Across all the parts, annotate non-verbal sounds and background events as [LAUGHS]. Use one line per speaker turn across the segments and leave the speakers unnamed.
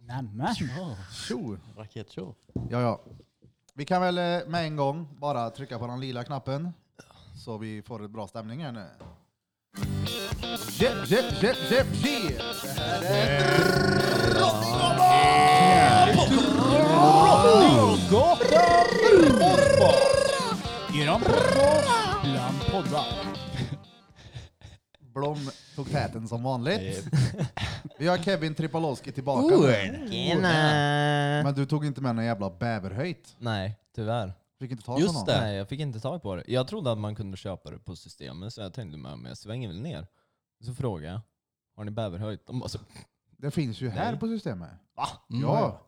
Nämen!
Tjo!
Raketshow.
Ja, ja. Vi kan väl eh, med en gång bara trycka på den lila knappen så vi får en bra stämning här nu. Jep, jep, jep, jep, jep. Det här är
Drottninggatan Fotboll! Eran podcast bland poddar.
Blom tog täten som vanligt. [LAUGHS] Vi har Kevin Tripolowski tillbaka.
Oh,
nu. Oh,
Tjena!
Men du tog inte med någon jävla bäverhöjt.
Nej, tyvärr.
Fick inte tag på
Just
någon.
det. Nej, jag fick inte tag på det. Jag trodde att man kunde köpa det på systemet, så jag tänkte med mig, jag svänger väl ner. Så frågade jag, har ni bäverhöjt? De bara så,
Det finns ju här
Nej.
på systemet.
va?
Ja,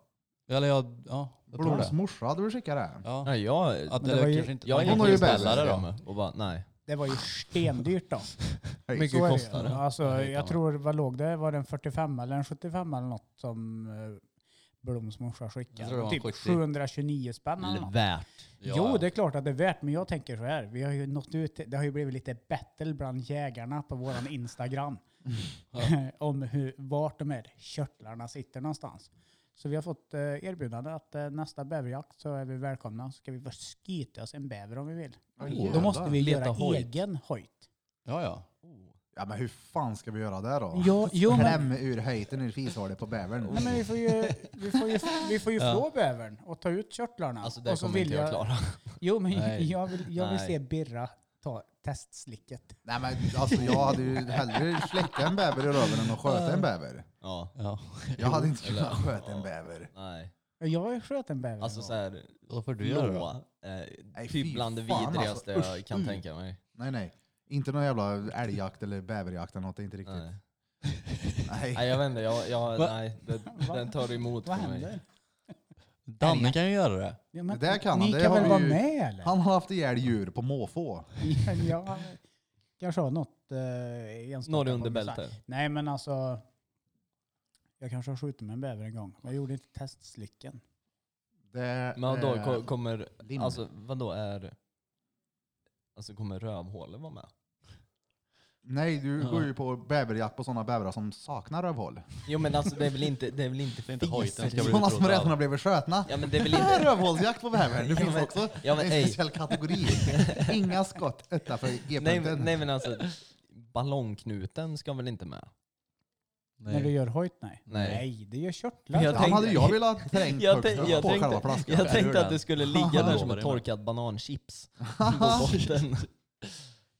Eller jag, ja, jag tror
Bloms
det.
morsa hade väl skickat det.
Ja.
Nej, jag,
Att
det
det
var ju-
kanske inte
jag är
Hon
ingen
har ju
beställare
bäver.
då. Och bara, nej.
Det var ju stendyrt [LAUGHS] då.
mycket
Så är det ju.
kostar det.
Alltså,
Ja, det kan
jag
man.
tror, vad låg det? Var det en 45 eller en 75 eller något som eh, Bloms morsa
Jag tror det
skickade?
var en
Typ
70.
729 spänn eller något.
Värt.
Jo, det är klart att det är värt, men jag tänker så här. Vi har ju nått ut, det har ju blivit lite battle bland jägarna på våran
[LAUGHS]
Instagram. [LAUGHS] om hur, vart de här körtlarna sitter någonstans. Så vi har fått eh, erbjudande att eh, nästa bäverjakt så är vi välkomna. Så ska vi bara skita oss en bäver om vi vill.
Åh,
Oh.
Då måste
jävlar.
vi
Leta
göra
hojt.
egen hojt.
Ja, ja.
Ja, men hur fan ska vi göra det då?
Ja, jo, men,
Kläm ur höjten ur fishålet på bävern.
nej, men vi får ju, vi får ju, vi
[LAUGHS]
får ju flå bävern och ta ut körtlarna.
Alltså det
och så
kommer inte
vill
jag klara.
Jo, men
Nej.
jag vill, jag vill
Nej.
se Birra ta testslicket.
Nej men alltså jag hade ju hellre släcka en bäver i röven än att sköta en bäver.
Ja.
ja.
Jag hade inte kunnat
eller-
sköta en bäver.
Nej.
Jag sköt en bäver.
Alltså
en gång.
såhär,
Då får du göra det.
blå. Eh,
Nej, fy
typ bland det
fan, alltså.
vidrigaste
Usch,
jag kan
mm.
tänka mig.
Nej nej. Inte någon jävla älgjakt eller bäverjakt eller något, det är inte riktigt.
Nej.
Nej.
Nej jag vet inte, jag, jag,
Va?
nej, den,
Va?
den tar emot
Vad
på mig.
händer?
[LAUGHS] Danne kan ju göra det.
Ja,
Det där kan han,
ni
det
kan
har
väl
vi
vara
ju-
med eller?
Han har haft ihjäl djur på måfå.
[LAUGHS] ja, kanske har något eh, enstaka
Några under
kompisar.
bältet.
Nej men alltså, jag kanske har skjutit med en bäver en gång. men Jag gjorde inte testslicken.
Det,
Men då
det-
ko- kommer,
lim.
alltså vadå är, alltså kommer rövhålet vara med?
Nej, du
Ja.
går ju på bäverjakt på sådana bävrar som saknar rövhål.
Jo men alltså det är väl inte, det är väl inte
Det är inte hojten som ska bli
Sådana som redan har
utrotad.
blivit skötna.
Ja men det är väl
[LAUGHS]
inte,
Rövhålsjakt på bäver, det
Ja,
finns
men-
också.
ja, men
det är en
ej.
speciell kategori. Inga skott utanför
[LAUGHS] nej,
g-punkten.
men- nej men alltså ballongknuten ska väl inte med?
När du
Nej.
gör hojt? Nej.
Nej.
det gör körtlar.
Men jag
Han
tänkte-
hade [LAUGHS] jag velat trängt
[LAUGHS] Jag,
högt
tän-
upp
jag,
på själva
tänkte,
flaskan.
jag
Eller hur
tänkte att
den?
det skulle ligga där som [LAUGHS]
Lovar det
ett
med.
torkat [LAUGHS] bananchips på botten.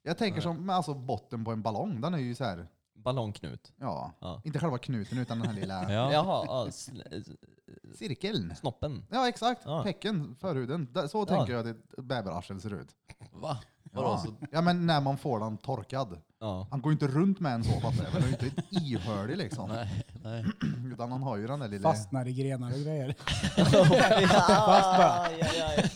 Jag tänker som men alltså botten på en ballong, den är ju så här,
Ballongknut.
ja,
Ja.
inte själva knuten utan den här lilla
Ja.
Jaha, [LAUGHS] ja, sl-
cirkeln.
snoppen.
Ja exakt,
Ja.
pecken, förhuden. Där- Så tänker jag att ett bäverarsel ser ut.
Va? Vadå?
Ja.
Så-
ja men när man får den torkad.
[LAUGHS] Ja.
Han går ju inte runt med en så fattar jag, men han är ju inte ihördig liksom.
Nej, nej.
Utan han har ju den där lilla...
Fastnar i grenar och grejer.
[LAUGHS] Fast
bara.
Aj, aj, aj.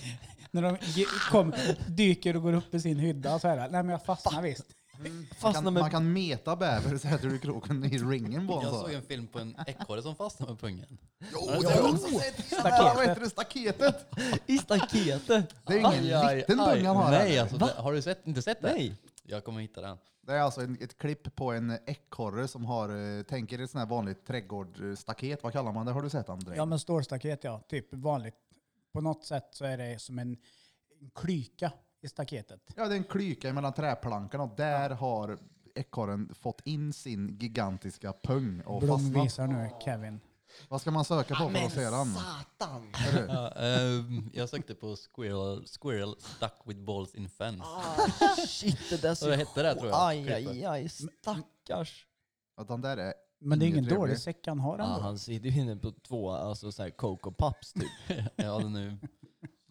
När de ge- kom, dyker och går upp i sin hydda så här. Nej men jag fastnar visst.
man,
Fastnar
kan,
med-
man kan meta bäver och sätter du kroken i ringen på honom så.
Jag såg en film på en ekorre som fastnade med pungen.
Jo, det har jag också sett! Jävlar, Vad heter det? Staketet!
I staketet.
Det är ingen liten bunga han har.
Nej,
här.
alltså, det, har du sett, inte sett det?
Nej.
Jag kommer hitta den.
Det är alltså en, ett klipp på en ekorre som har, eh, tänker ett sånt här vanligt trädgårdsstaket, vad kallar man det? Har du sett den? André?
Ja men stålstaket ja, typ vanligt. På något sätt så är det som en en klyka i staketet.
ja, det är en klyka mellan träplankorna och där har ekorren fått in sin gigantiska pung och
Blom
fastnat.
visar nu Kevin.
Vad ska man söka på för att se den?
satan.
Är du?
Ja, ehm, jag sökte på squirrel, squirrel stuck with balls in fence.
Shit, det [LAUGHS] där
Så det hette det tror jag.
Aj, aj, aj, stackars.
Att den där är...
Men det är
Inget
ingen dålig
trevligt.
säck han har
Ja,
ändå.
han sitter ju inne på två, alltså såhär Coco
[LAUGHS]
Pops typ.
Ja, den är,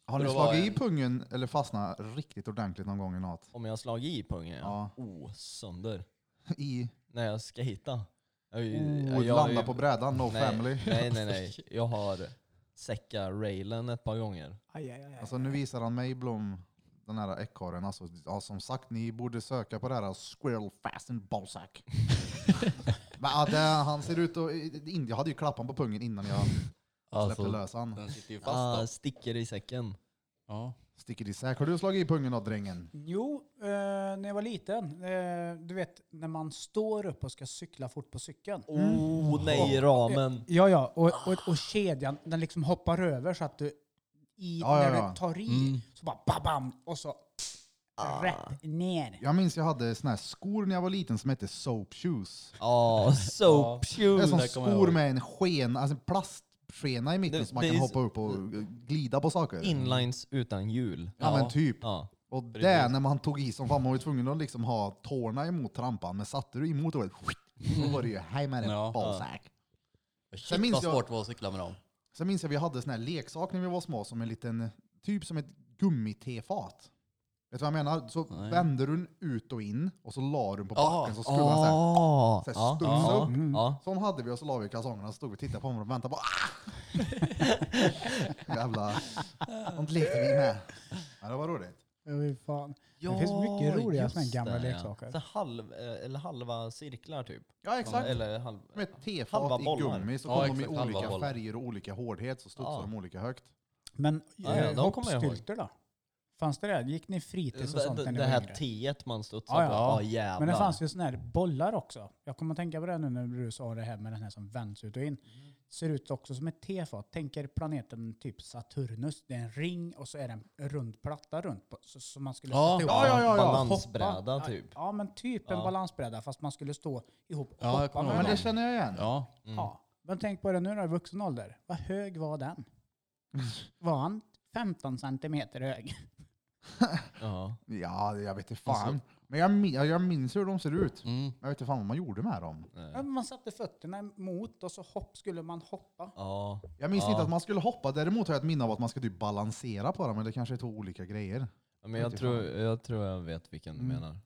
Har ni
Det var
slagit i
en-
pungen eller fastnat riktigt ordentligt någon gång i något?
Om jag har slagit i pungen,
Ja.
ja. Oh, sönder.
I...
När jag skejtar. Jag, är ju-
Oh,
jag är
landa
ju-
på brädan, no
nej,
family.
Nej,
[LAUGHS]
nej, nej. Jag har säckat railen ett par gånger.
Aj, aj, aj, aj.
Alltså nu visar han mig Blom, den här ekorren. Alltså, ja, som sagt, ni borde söka på det här Squirrel Fast and Ballsack. Men ja, det, han ser ut att... in- Jag hade ju klappan på pungen innan jag släppte
alltså,
lös han.
den sitter ju fast
Ah,
då.
sticker i säcken.
Ja.
Sticker isär. Har du slagit i pungen då, drängen?
Jo, eh, när jag var liten, eh, du vet när man står upp och ska cykla fort på cykeln.
Oh nej, ramen.
Ja, ja, och, och, och kedjan, den liksom hoppar över så att du, i,
Ja, ja,
när
ja.
du tar i,
Mm.
så bara babam, och så rätt ner.
Jag minns jag hade såna här skor när jag var liten som hette soap shoes.
Ja, soap
Det är
shoes.
som
där kommer jag
skor
ihåg.
med en skena, alltså en plastskena i mitten
Det-
som man
det är
kan
ju
hoppa upp och glida på saker.
Inlines utan hjul.
ja, men typ.
Ja.
Och där när man tog i som fan, man var ju tvungen att liksom ha tårna emot trampan, men satte du emot och då var det ju hej med
Ja.
det, ballsack.
Shit
minns
vad
jag-
svårt det var att cykla med dem.
Sen minns jag vi hade sån här leksak när vi var små, som en liten, typ som ett gummitefat. Vet du vad jag menar? Så
Nej.
vände du den ut och in och så la du den på
Ja.
backen så skulle den såhär.
Ah,
så här
ja,
studs
ja,
upp.
ja.
Sån hade vi och så la vi i kalsongerna och stod och tittade på honom och väntade på ah! Jävla... Sånt lekte vi med. Ja, det var roligt.
Fy fan. Det finns mycket roliga
just
såna här gamla
det, ja.
leksaker.
Så halv, eh, eller halva cirklar typ.
Ja, exakt.
Eller halv...
Med ett
Halva
tefat i
bollar.
gummi så
Ja,
kom de i
exakt, halva
olika
bollar.
färger och olika hårdhet så studsade
Ja.
de olika högt.
Men
Ja,
eh,
ja, de kommer jag ihåg.
hoppstylter då? Fanns det det? Gick ni fritids och
Det,
sånt
det,
när ni
det
var
här
yngre?
teet man studsar
Ja,
på.
ja.
Ja jävlar.
Men det fanns ju såna här bollar också. Jag kommer att tänka på det nu när du sa det här med den här som vänds ut och in. Ser ut också som ett tefat. Tänker planeten typ Saturnus. Det är en ring och så är det en rund platta runt på, så, som man skulle
Ja,
sätta ihop.
ja, ja, ja, ja.
Balansbräda
Hoppa.
typ.
Ja, men typ en
Ja.
balansbräda fast man skulle stå ihop och
Ja, jag
hoppa
kommer
med
Ja, men
den.
det känner jag igen.
Ja.
Ja. Men tänk på det nu när du är vuxen ålder. Vad hög var den? Var han 15 centimeter hög?
Ja.
Ja, jag vet inte fan. Men jag, min- jag minns hur de ser ut.
Mm.
Jag vet inte fan vad man gjorde med dem.
Ja, men Man satte fötterna emot och så hopp, skulle man hoppa.
Ja.
Jag minns
Ja.
inte att man skulle hoppa. Däremot har jag ett minne av att man ska typ balansera på dem, men det kanske är två olika grejer.
Ja, Men jag
Utifrån.
tror, jag tror jag vet vilken du
Mm.
menar.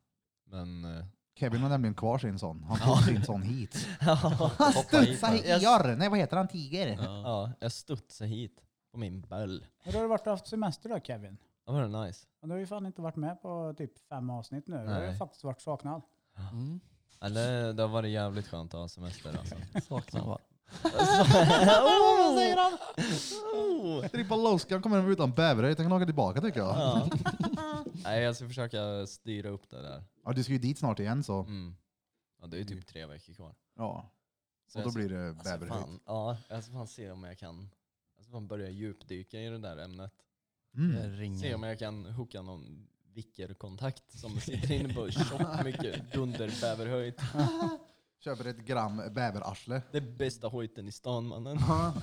[LAUGHS]
Men... eh,
Kevin har nämligen kvar sin sån. Han tog sin sån hit. Han
hit
studsade
bara.
i gör. Nej, vad heter han? Tiger?
Ja.
ja, jag studsade hit på min böll.
Hur har du varit och haft semester då Kevin?
Det var det nice.
Men Du har ju fan inte varit med på typ fem avsnitt nu. Du har ju
Nej.
faktiskt varit saknad.
Mm.
Eller, det har varit jävligt skönt att ha semester alltså.
Saknar va?
Vad säger han? Oh!
[LAUGHS] Trippa Loskan kommer hem utan bäveröj. Den kan åka tillbaka tycker jag.
[LAUGHS]
Ja. Nej, jag ska försöka styra upp det där.
Ja, du ska ju dit snart igen så.
Mm. Ja, det är ju typ tre veckor kvar.
Ja.
Så
Och
jag
då
ska-
blir det
alltså,
bäverhöjd.
fan, Ja, jag ska fan se om jag kan jag ska fan börja djupdyka i det där ämnet.
Mm.
Jag ringer.
Se om jag kan hooka någon vickerkontakt som sitter inne på tjockt mycket dunderbäverhöjd.
Köper ett gram bäverarsle.
Det är bästa hojten i
[LAUGHS]
stan mannen.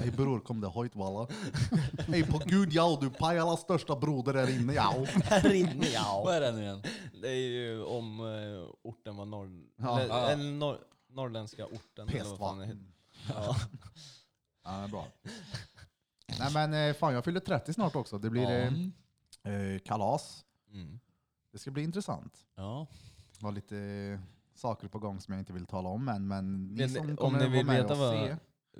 Ey bror, kom det hojt [LAUGHS] walla. Ey på gud ja, du Pajalas största broder där inne ja.
Här inne ja.
Vad är det nu igen?
Det är ju om eh, orten var norr...
Ja.
eller,
Ja.
eller norr, norrländska orten. eller
Pest
vad
va.
fan det heter. Ja.
Ja, det är bra. Nej men eh, fan, jag fyller 30 snart också. Det [LAUGHS] blir eh,
Mm.
eh, kalas.
Mm.
Det ska bli intressant.
Ja.
Det var lite eh, saker på gång som jag inte vill tala om än, men ni
Men
som
om
kommer
ni
vara
vill
med
veta
och
vad-
se.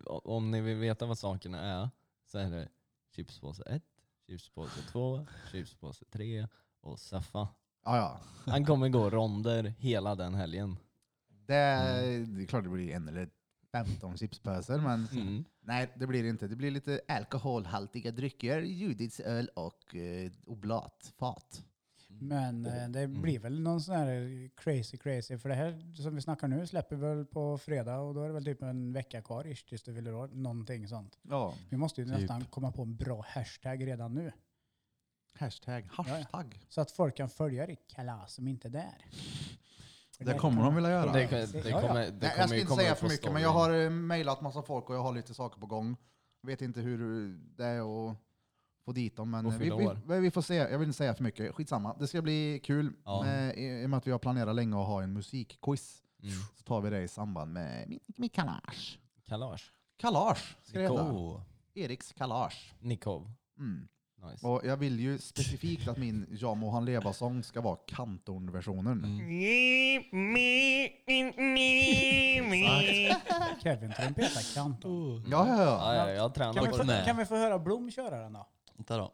O- Om ni vill veta vad sakerna är så är det chipspåse 1, chipspåse 2, chipspåse 3 och Saffa.
Ja, ja.
Han kommer gå ronder hela den helgen.
Det, det är klart det blir en eller 15 chipspöser, men
Mm.
nej det blir det inte. Det blir lite alkoholhaltiga drycker, Judiths öl och eh, oblatfat.
Men eh, det blir väl någon sån här crazy crazy. För det här som vi snackar nu släpper vi väl på fredag och då är det väl typ en vecka kvar ish tills du fyller år. Någonting sånt.
Ja.
Vi måste ju
Typ.
nästan komma på en bra hashtag redan nu.
Hashtag. Hashtag.
Så att folk kan följa ditt kalas som inte är där. För
Det
där
kommer de vilja göra.
Det, kan- det
Ja, ja.
kommer, det
Nej, jag
kommer
ska
ju
inte
komma
säga
upp
för
på
mycket, men
storyn.
jag har eh, mejlat massa folk och jag har lite saker på gång. Vet inte hur eh, det är att få dit dem, men
Och
eh, vi,
fylla
vi,
år.
vi- vi får se. Jag vill inte säga för mycket. Skitsamma. Det ska bli kul.
Ja.
Eh, I i och med att vi har planerat länge att ha en musikquiz
Mm.
så tar vi det i samband med min, min kalas.
Kalas.
Kalas ska det heta.
Cool.
Eriks kalas.
Nikov.
Mm.
Nice.
Och jag vill ju specifikt att
[LAUGHS]
min Ja må han leva-sång ska vara Kantorn-versionen.
Mm.
Kevin trumpetar kanton.
Ja, ja, ja.
Ja, ja, jag har tränat
Kan vi,
på
få,
det.
Nej.
kan vi få höra Blom köra den då?
Vänta då.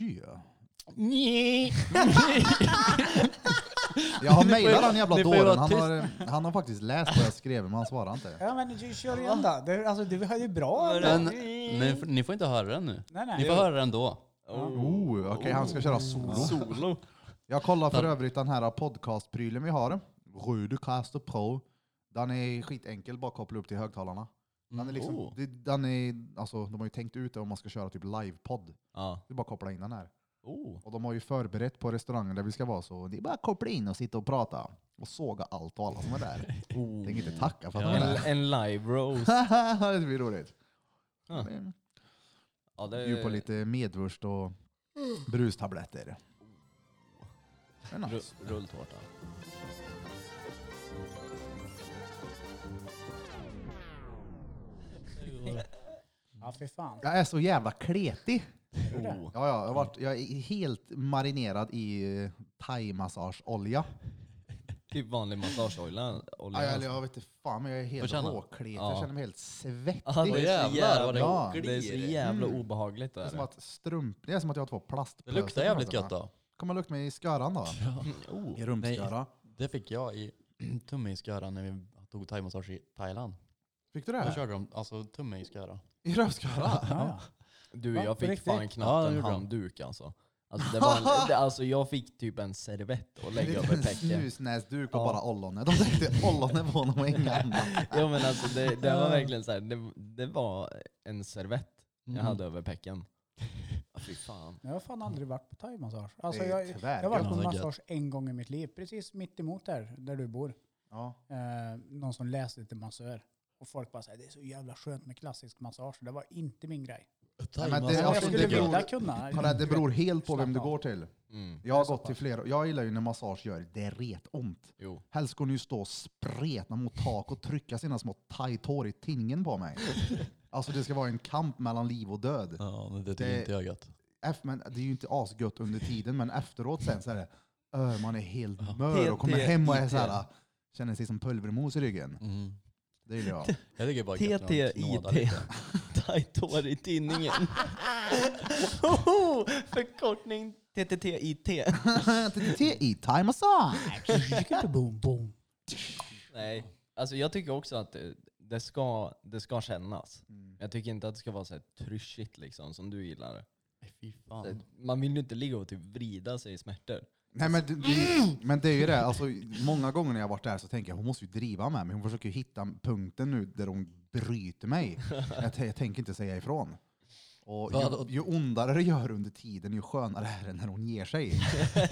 Yeah.
Nej.
Jag har mejlat den jävla
ni får ju vara
dåren. Han har, han har faktiskt läst vad jag skrev, men han svarar inte.
Ja men du kör igen då. Det, alltså du har ju bra.
Men, men f- ni får inte höra den nu.
nej, nej.
Ni får höra den då.
Oh, Okej, han ska köra solo.
Solo.
Jag kollar för övrigt den här podcastprylen vi har. Rudecast Pro. Den är skitenkel, bara koppla upp till högtalarna. Den
Mm.
är liksom,
Oh.
det- den är, alltså, de har ju tänkt ut det om man ska köra typ livepodd.
Ja.
Det är bara att koppla in den här.
Oh.
Och de har ju förberett på restaurangen där vi ska vara, så det är bara att koppla in och sitta och prata. Och såga allt och alla som är där. Tänk inte tacka för att de är
En,
där.
en live roast.
[LAUGHS] det blir roligt.
Ja. Ja, det
Bjud på lite medvurst och brustabletter. Det är nice.
ru- rulltårta.
Ja, fy fan.
Jag är så jävla kletig.
Oh.
Ja, ja, jag, har varit, jag är helt marinerad i eh, thai-massageolja.
Typ vanlig massageolja. olja.
Ja, eller jag vet inte fan, men jag är
Får
helt
känna?
råkletig.
Ja.
Jag känner mig helt svettig.
Ja,
Åh,
det, är så
jävlar,
jävla,
vad det
Ja.
det är så
glider.
jävla
Mm.
obehagligt.
det, är
Där.
som att strump, det är som att jag har två
Det
plastpösar.
luktar
på
jävligt
fötterna.
gött då.
Kommer lukta mig i sköran då. I rumsköra.
Det fick jag i [CLEARS THROAT] tumme i sköran när vi tog thaimassage i Thailand.
Fick du
Då
det?
körde de alltså tumme i sköran.
I rövsköra?
Ja, ja.
Du,
Va?
jag fick
På riktigt?
fan knappt
Ja, det
en
gjorde de.
handduk alltså. Alltså, det var, det, alltså. Jag fick typ en servett att
En [LAUGHS]
lägga över
liten
pecken.
snusnäsduk och
Ja.
bara ollonet. De tänkte ollonet på honom och inga andra.
Ja, men alltså, det, det var verkligen så här, det, det var en servett jag
Mm.
hade över pecken. Ja, Fy fan.
Jag har fan aldrig varit på thaimassage. Alltså,
Det är
jag, jag har varit
tvärgött.
på
Ja, det är
massage en gång i mitt liv, precis mitt emot där, där du bor.
Ja.
Eh, någon som läste till massör. Och folk bara säger det är så jävla skönt med klassisk massage. Det var inte min grej.
Nej, men det-
Jag,
alltså,
skulle
det beror-
vilja kunna.
Men Det beror helt på vem du
Slappna av.
går till.
Mm.
Jag har
så
gått till flera. Jag gillar ju när massage gör det ret ont.
[LAUGHS] Jo.
Helst skulle hon ju stå och spretna mot tak och trycka sina små tajtår i tinningen på mig. Alltså det ska vara en kamp mellan liv och död.
Ja, men det
Det-
tycker inte jag gött.
F, men det är ju inte asgött under tiden, men efteråt sen så är det "Ö, man är helt mör
TT,
och kommer hem och är så här, känner sig som pulvermos i ryggen.
Mm.
Det gillar jag.
Jag tycker bara gött när de knådar
TTIT.
lite.
Tajt hår i tinningen. Förkortning TTTIT.
TT i time
[LAUGHS]
massage!
boom, boom.
Nej, alltså jag tycker också att det, det, ska, det ska kännas. Jag tycker inte att det ska vara så här tryschigt liksom som du gillar.
Nej, Fy fan.
Man vill ju inte ligga och typ vrida sig i smärtor.
Nej men det, det, men det är ju det, alltså, många gånger när jag har varit där så tänker jag hon måste ju driva med mig. Hon försöker ju hitta punkten nu där hon bryter mig. Jag, t- jag tänker inte säga ifrån. Och
Ja,
ju,
då-
ju ondare det gör under tiden, ju skönare är det när hon ger sig.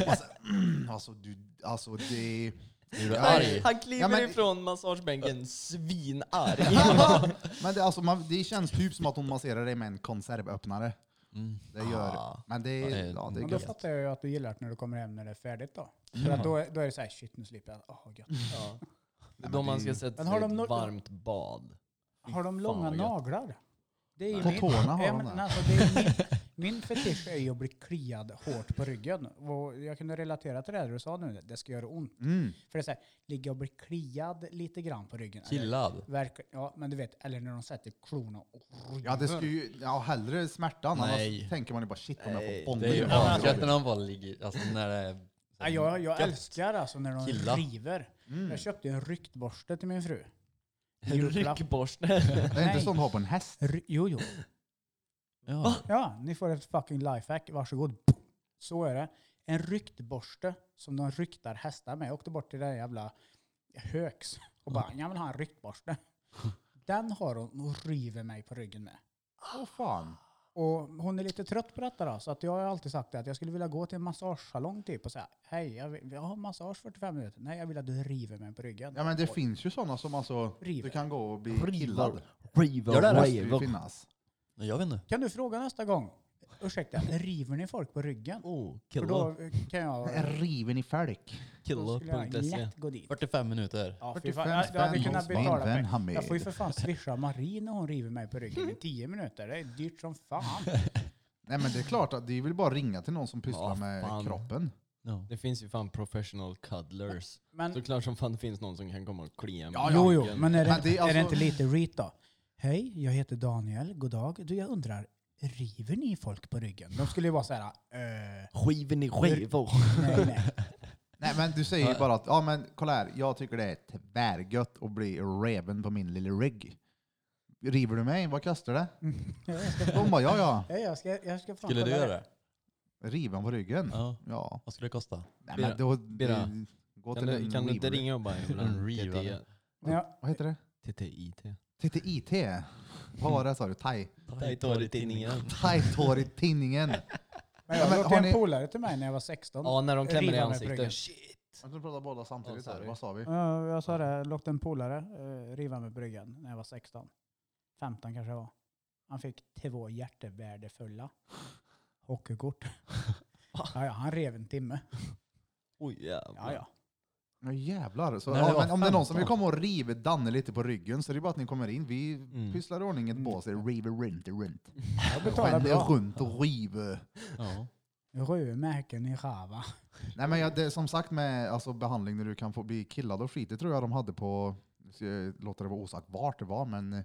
Alltså, mm, alltså, du, alltså det...
Blir du
Ja,
arg?
Han kliver
Ja, men-
ifrån massagebänken svinarg. [LAUGHS]
men det, alltså, man, det känns typ som att hon masserar dig med en konservöppnare.
Mm.
Det gör...
Ah.
Men det,
Ja, det
är-
är-
ja, det är
Men då
gött.
fattar jag ju att du gillar det när du kommer hem när det är färdigt då. För att då, är- då är det så här, shit nu slipper jag. Åh, gött.
ja.
men
Då man
det-
ska sätta
Men
sig
har
i ett
de no-
varmt bad.
Har de
Fy fan,
långa
vad gött.
naglar? Det är ju
På
min-
tårna har
Ja,
de
men
det.
alltså, det är min, min fetisch är ju att bli kliad hårt på ryggen. Och jag kunde relatera till det här du sa nu, det ska göra ont.
Mm.
För det är så här, ligga och bli kliad lite grann på ryggen. eller-
[LAUGHS]
Killad.
Verkligen. Ja, men du vet, eller när de sätter klorna och
Ja, det skulle ju, ja, hellre smärtan. Annars
Nej.
tänker man ju bara shit om jag får
Nej,
bonda
Det är ju
i
asgött när de bara ligger, alltså när det är...
Ja, jag, jag
Gött.
älskar alltså när de
Killa.
river.
Mm.
Jag köpte ju en ryktborste till min fru. I julklapp. [LAUGHS]
Ryckborste.
Det är inte
Nej.
som att ha på en häst.
Ry- Jo, jo.
Ja.
Ja, ni får ett fucking lifehack. Varsågod. Så är det. En ryktborste som de ryktar hästar med. Jag åkte bort till det där jävla höks och bara, jag vill ha en ryktborste. Den har hon och river mig på ryggen med.
Åh fan.
Och hon är lite trött på detta då, så att jag har alltid sagt det, att jag skulle vilja gå till en massagesalong typ och säga Hej, jag, vill, jag har massage 45 minuter. Nej, jag vill att du river mig på ryggen.
Ja men det finns ju sådana som alltså,
River.
du kan gå och bli killad. Det
Gör det?
måste ju
River.
finnas.
Jag vet inte.
Kan du fråga nästa gång? Ursäkta, river ni folk på ryggen?
Oh,
För
killa.
då kan jag...
En riven i fälk.
Då skulle jag
E.
Killa.se.
lätt gå dit.
45 minuter.
Ja, fy
45
fan. Jag, jag hade
spänn
kunnat
hos min
betala
vän
pengar.
Hamid.
Jag får ju för fan swisha Marie när hon river mig på ryggen i 10 minuter. Det är dyrt som fan.
Nej men det är klart att det är väl bara att ringa till någon som pysslar
Ja,
med
fan.
kroppen.
Ja.
Det finns ju fan professional cuddlers.
Men,
Såklart som fan det finns någon som kan komma och klia
Ja,
jo, jo, men är det,
Men det är
är det
alltså-
inte lite reet då? Hej, jag heter Daniel. God dag. Du, jag undrar, river ni folk på ryggen? De skulle ju vara så här, eh,
Skiven i skivor.
nej, nej. [LAUGHS]
Nej men du säger ju bara att, ja men kolla här, jag tycker det är tvärgött att bli reven på min lilla rygg. River du mig? Vad kostar det?
Jag ska,
De bara ja ja.
jag ska, jag ska fan
Skulle du
kolla
göra det?
Riven på ryggen?
Ja.
Ja.
Vad skulle det kosta?
Nej,
Birra,
men då,
Birra.
det- Gå
Kan
till
du,
en
kan du inte
river.
ringa och bara jag vill ha
En
en
river.
TTI
Men jag,
Vad heter det?
TTIT?
TTIT? Vad var det sa du? Thai?
Taitoritidningen.
Thai-tår i
[LAUGHS]
tinningen.
men
Ja,
jag
men
låg till en
har ni-
polare till mig när jag var 16.
Ja, när de klämmer dig i
Riva mig på ryggen.
ansiktet. Shit.
Jag tror prata båda samtidigt
Ja,
här.
sorry.
Vad sa vi?
Ja, jag sa det, jag låg till en polare, eh, riva med bryggan, när jag var 16. 15 kanske jag var. Han fick två hjärtevärdefulla
[LAUGHS]
hockeykort. ja, ja, han rev en timme.
Oj
Ja,
[LAUGHS]
jävlar.
ja.
Ja jävlar. Så,
När det
ja,
var
men om det är någon som vill
15.
komma och riva Danne lite på ryggen så är det bara att ni kommer in. Vi pysslar i ordning ett
Mm.
bås. Mm. River runt, runt.
Jag betalar
Skäller
bra.
runt och river.
Ja.
Rödmärken i Rava.
Nej men jag, det är som sagt med alltså, behandling när du kan få bli killad och skit, det tror jag de hade på, så jag låter det vara osagt vart det var, men eh,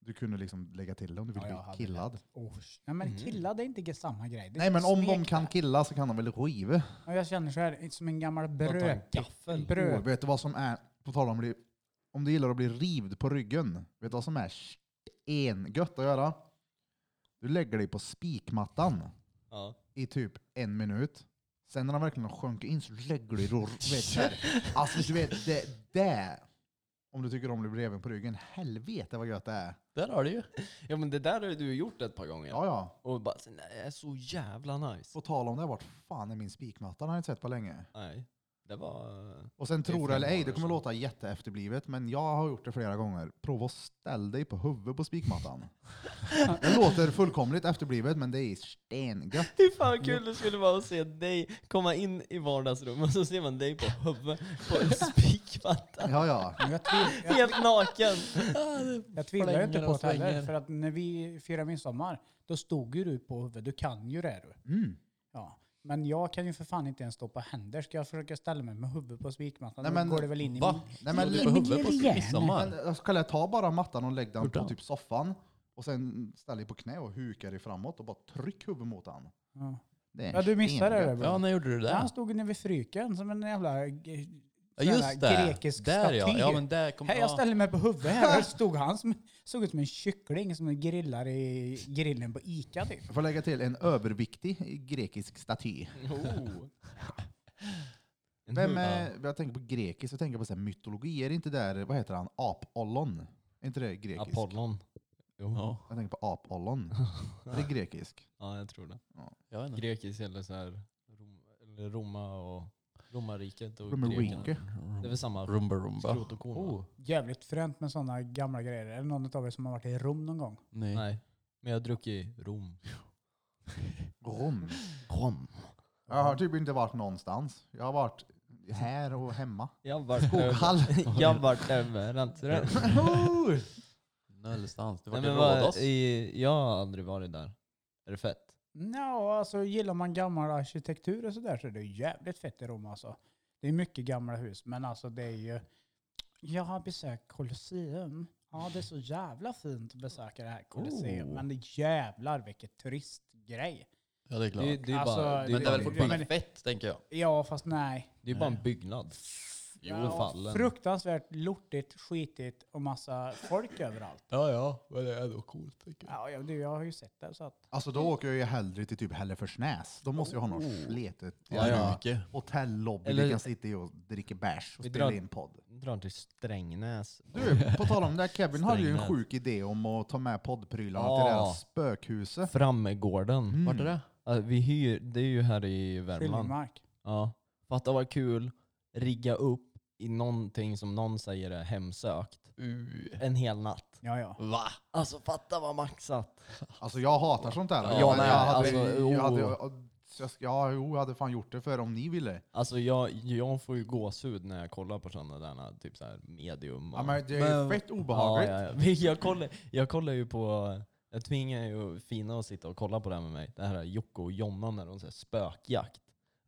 du kunde liksom lägga till det om du
Ja,
ville
jag
bli
hade
killad. Mhm.
Oh, nej men
Mm.
killar det är inte samma grej. Det är
Nej men om de
smek
kan
där.
killa så kan de väl riva.
Ja, Jag känner så här, som en gammal
tar en
bröt.
gaffel.
Oh,
bröt.
vet du vad som är, på tal om att bli, om du gillar att bli rivd på ryggen, vet du vad som är stengött att göra? Du lägger dig på spikmattan
Ja.
i typ en minut. Sen när den verkligen har sjunkit in så lägger du dig och vet, så här. Alltså du vet, det det. Om du tycker om att bli reven på ryggen, helvete vad gött det är.
Där har du ju.
ja men det där har du gjort ett par gånger.
Ja, ja.
Och bara, så, nej, det är så jävla nice.
På tal om det, vart fan är min spikmatta? Den har jag inte sett på länge.
Nej, det var... eh,
Och sen
Det är
tror
fem
eller ej, det
månader
kommer
sedan.
låta jätteefterblivet, men jag har gjort det flera gånger. Prova att ställ dig på huvudet på spikmattan. det låter fullkomligt efterblivet, men det är stengött.
Fy fan kul det skulle vara att se dig komma in i vardagsrummet och så ser man dig på huvudet på en [LAUGHS] spikmatta.
Ja, ja.
Men Jag, tvivl, jag,
Helt naken.
jag tvivlar ju inte
Flänger
på
och
det heller.
svänger.
För att när vi firade midsommar, då stod ju du på huvudet. Du kan ju det du.
Mm.
Ja. Men jag kan ju för fan inte ens stå på händer. Ska jag försöka ställa mig med huvudet på spikmattan,
Nej,
då
men-
går det väl in i
Va?
min...
Nej, men,
Ligger på huvudet på
igen.
midsommar?
men alltså, Kalle, ta bara mattan och lägg den
Gjort
på
det.
typ soffan. Och sen ställ dig på knä och huka dig framåt och bara tryck huvudet mot den.
Ja.
Det är
ja, du missade det
stengött.
där
Ja,
bro.
när gjorde du
Ja,
det?
han stod nere vid fryken som en jävla... g-
Ja,
sån här
just det.
Grekisk
där
staty.
ja. ja men där kom,
Hej, jag
ja.
ställer mig på huvudet här. Där stod han som, såg ut som en kyckling som grillar i grillen på Ica typ.
Jag får lägga till en överviktig grekisk staty.
[LAUGHS] Oh. En
Vem
hud.
är, jag tänker på grekiskt, jag tänker på så här mytologi. Är det inte där, vad heter han, apollon? Är inte det
Ja.
grekiskt?
Apollon. Jo. Ja.
Ja,
Jag tänker på
[LAUGHS]
apollon. är det grekisk?
jag tror det.
jag vet inte.
Grekiskt eller så här, Rom, eller Roma och romarriket och grekerna.
Romerike?
Det är väl samma
Rumba rumba.
skrot och korn va?
Oh.
Jävligt fränt med sådana gamla grejer. Är det någon av er som har varit i Rom någon gång?
Nej.
Nej, men jag har druckit Rom.
Rom?
Rom.
Jag har typ inte varit någonstans. Jag har varit här och
[LAUGHS]
hemma.
Jag har varit
Skoghall.
över- [LAUGHS] Jag har varit överallt. tror [LAUGHS] jag.
Nullstans. Du var
Nej,
i
men vad,
Rhodos.
i, jag har aldrig varit där. Är det fett?
Ja, alltså gillar man gammal arkitektur och sådär så är det jävligt fett i Rom alltså. Det är mycket gamla hus, men alltså det är ju... Jag har besökt Colosseum. Ja, det är så jävla fint att besöka det här Colosseum.
Oh.
Men det jävlar vilket turistgrej.
Ja det är klart.
Det, är- det är
Alltså,
bara, det,
men det är väl
det-
fortfarande
men-
fett tänker jag.
Ja, fast nej.
det är bara en byggnad. Jo,
Ja,
fallen.
Fruktansvärt lortigt, skitigt och massa folk [LAUGHS] överallt.
Ja ja, men det är ändå coolt tänker
Ja, jag, du, jag har ju sett det så att...
Alltså då åker jag ju hellre till typ Hälleforsnäs. Då måste jag ha något sletet
Ja,
jävla
ja. mycket.
hotellobby
Oh. Eller-
vi kan sitta i och dricka bärs och
Vi
spela
drar-
in podd.
drar till Strängnäs.
Du, på tal om det, här, Kevin hade ju en
Strängnäs.
sjuk idé om att ta med poddprylarna
Ja.
till det här spökhuset.
Frammegården.
Vart är det?
Alltså, vi hyr, det är ju här i Värmland.
Skiljemark.
Ja. Fatta vad kul, rigga upp i någonting som någon säger är hemsökt.
Uh.
En hel natt.
Ja, ja.
Va?
Alltså fatta vad maxat.
Alltså jag hatar sånt där.
Ja,
jag,
nej,
jag, hade,
alltså,
jag, hade,
oh.
jag, ska- ja, jo, jag hade fan gjort det för om ni ville.
Alltså jag, jag får ju gåshud när jag kollar på sådana där typ så här medium.
Ja,
och-
men det är ju
Men-
fett obehagligt.
Ja, ja, [LAUGHS] ja. Jag, kollar, jag kollar ju på, jag tvingar ju Fina att sitta och kolla på det här med mig. Det här är Jocke och Jonna när de säger spökjakt.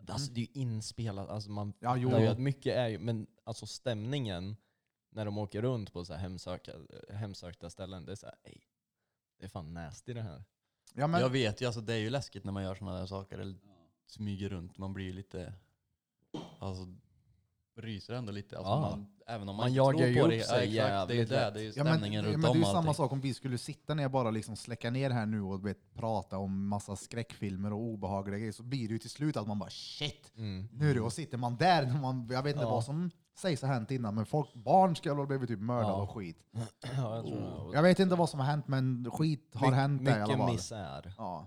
Alltså
Mm.
det är ju inspelat, alltså man
Ja, jo.
fattar ju att mycket är ju, men alltså stämningen när de åker runt på så här hemsöka, hemsökta ställen, det är så här, "Ey, det är fan nasty det här.
Ja, men,
Jag vet ju, alltså det är ju läskigt när man gör sådana där saker. Eller smyger runt. Man blir ju lite... Alltså, ryser ändå lite. Alltså
Ja.
man, även om man,
Man
inte
jagar
tror
ju
på
upp
det.
sig
ja, exakt, det är
jävligt
det.
lätt.
Det är ju
Ja, men,
stämningen
ja, men
runt
det är
om
ju
allting.
samma sak om vi skulle sitta ner bara liksom släcka ner här nu och vet, prata om massa skräckfilmer och obehagliga grejer så blir det ju till slut att man bara shit,
Mm.
nu är det, och sitter man där. När man, jag vet inte
Ja.
vad som sägs ha hänt innan men folk, barn ska väl ha blivit typ mördade
Ja.
och skit.
[LAUGHS] Ja, jag tror det. Och
Jag vet inte vad som har hänt men skit har
my-
hänt där Oh. i alla
Mycket
fall.
misär.
Ja.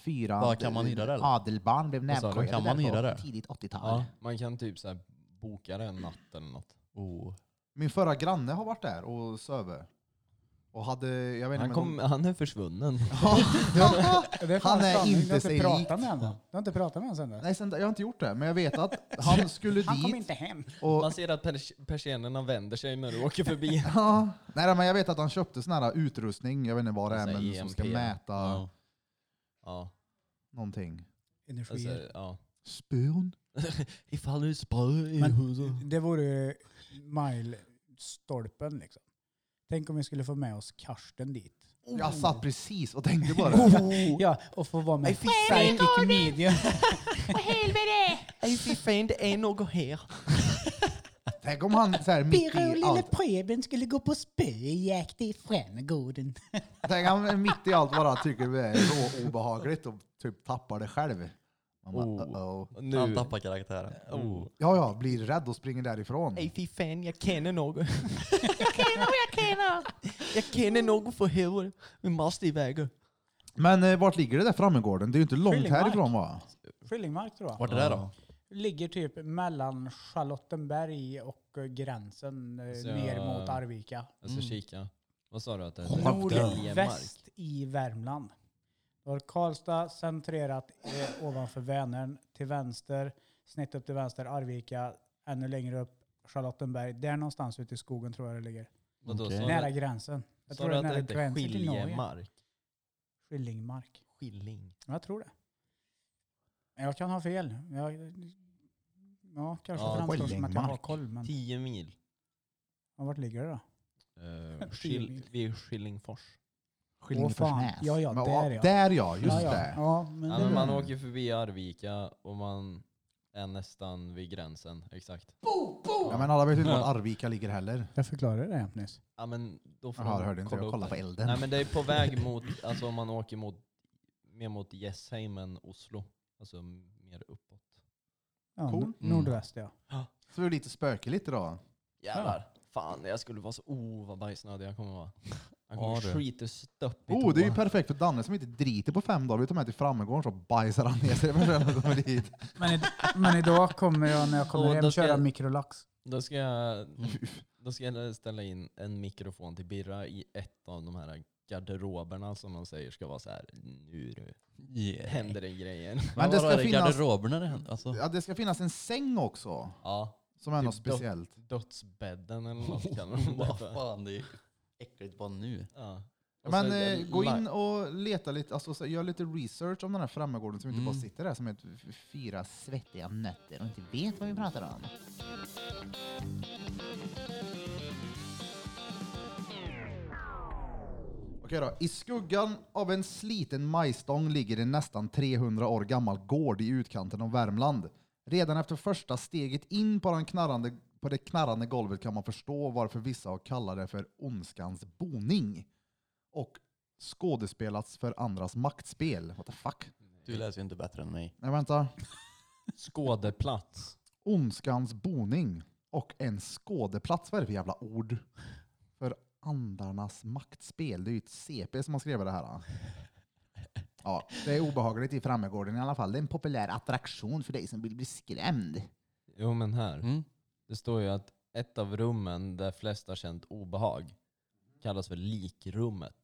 Fyra
Vad, kan man hyra det, eller?
adelbarn blev
Vad sa du?
näbbskällda
Kan man
där på
hyra det?
tidigt 80-tal.
Ja, man kan typ så här boka det en natt eller något.
Oh.
Min förra granne har varit där och söver. Och hade, jag vet inte,
Han,
men
kom, han
[LAUGHS]
är försvunnen.
de-
Det fan
Han är
sanning,
inte
du har
sig
inte pratat
lik.
med honom. Du har inte pratat med honom sen dess.
[LAUGHS] Nej, sen, jag har inte gjort det, men jag vet att han skulle
Han kom
dit
inte hem.
och...
Man ser att pers persiennerna vänder sig när du åker förbi.
[LAUGHS] Ja, nej, nej, men jag vet att han köpte sån här utrustning, jag vet inte vad det är,
Sån
Alltså,
här E
men som ska
EMP.
mäta
E Ja.
Ja,
någonting.
alltså,
Energier.
ja.
Spön?
Ifall du spöar i
Men-
huset.
Det vore ju milestolpen liksom. Tänk om vi skulle få med oss Karsten dit.
Oh.
Jag satt precis och tänkte på det.
[LAUGHS] Ja, och få vara med Psychic Media.
Nej fy fan, det är något här.
Tänk om han så här, mitt i allt,
Preben skulle gå på spöjakt i Frännegården.
tänk han mitt i allt bara tycker det är obehagligt och typ tappar det själv. Man bara,
Oh.
uh-oh.
Nu.
Han tappar karaktären.
Oh.
Ja, ja, blir rädd och springer därifrån.
Nej fy fan, jag känner något. jag känner något för huvudet. Vi måste iväg.
Men eh, vart ligger det där framme gården? Det är ju inte långt
Skillingmark.
härifrån va?
Skillingmark tror jag.
Vart är det då?
Ligger typ mellan Charlottenberg och eh, gränsen eh,
Så
ner
jag-
mot Arvika.
Jag ska kika. Vad sa du att det
Nordväst i Värmland. Du har Karlstad centrerat eh, ovanför Vänern till vänster, snett upp till vänster Arvika, ännu längre upp Charlottenberg. Där någonstans ute i skogen tror jag det ligger.
Vadå,
Okej.
sa du-
Nära gränsen. Jag
Sa
tror
du
det är
att det
nära
hette
gränsen till Norge.
skiljemark?
Skillingmark.
Skilling.
Ja, Jag tror det. Men Jag kan ha fel. Jag, ja, kanske
Ja,
framstår som att jag har
Skillingmark.
koll. Men
Tio mil.
ja, vart ligger det då?
Uh,
Tio
skil,
mil.
vid Skillingfors.
Skillingeforsnäs.
fan. Ja, ja,
Men,
där ja.
Där ja, just
ja, ja.
det.
Ja, men
Ja,
det-
men man
Mm.
åker förbi Arvika och man är nästan vid gränsen. Exakt. Oh.
Ja, men alla vet ju inte vart Arvika ligger heller.
Jag förklarade det helt nyss.
Ja, men då får
Jaha,
man
det hörde inte.
kolla
Jag
upp
kollade på
det.
elden.
Nej men det är på väg mot, alltså om man åker mot, mer mot Gästheim än Oslo. Alltså mer uppåt.
Ja,
Cool.
nor-
Mm.
Nordväst ja.
Så det är lite spökeligt idag.
Jävlar. Fan jag skulle vara så, oh vad bajsnödig jag kommer vara. Jag
Ja,
kommer
du.
skita stöpp i
Oh, det är ju
toa.
perfekt för Danne som inte driter på fem dagar. Vi tar med till Frammegården så bajsar han ner sig [LAUGHS] när han kommer dit.
Men, i, men idag kommer jag när jag
Och
kommer
då
hem
ska
köra
jag-
mikrolax.
Då
[LAUGHS]
ska, jag, då ska jag ställa in en mikrofon till Birra i ett av de här garderoberna som de säger ska vara så här. nu du,
Yeah.
händer
[LAUGHS]
det grejer.
Men det
vadå, är
ska
det
finnas,
garderoberna det händer? Alltså,
ja, det ska finnas en säng också.
Ja,
Som är
Typ
något
dock-
speciellt.
dödsbädden eller
Oh,
något kallar de det
[LAUGHS] vad
för.
fan, det är äckligt bara nu.
Ja. Och
Men
så
eh, gå
la-
in och leta lite, alltså, så, gör lite research om den här Frammegården som inte
Mm.
bara sitter där som ett f- fyra svettiga nötter och inte vet vad vi pratar om. Okej då. I skuggan av en sliten majstång ligger en nästan 300 år gammal gård i utkanten av Värmland. Redan efter första steget in på, den knarrande, på det knarrande golvet kan man förstå varför vissa har kallat det för ondskans boning och skådespelats för andras maktspel. What the fuck?
Du läser ju inte bättre än mig.
Nej, vänta.
Skådeplats.
Ondskans boning och en skådeplats. Vad är det för jävla ord? För andarnas maktspel. Det är ju ett CP som har skrivit det här. då. Ja, det är obehagligt i Frammegården i alla fall. Det är en populär attraktion för dig som vill bli skrämd.
Jo men här.
Mm.
Det står ju att ett av rummen där flest har känt obehag kallas för likrummet.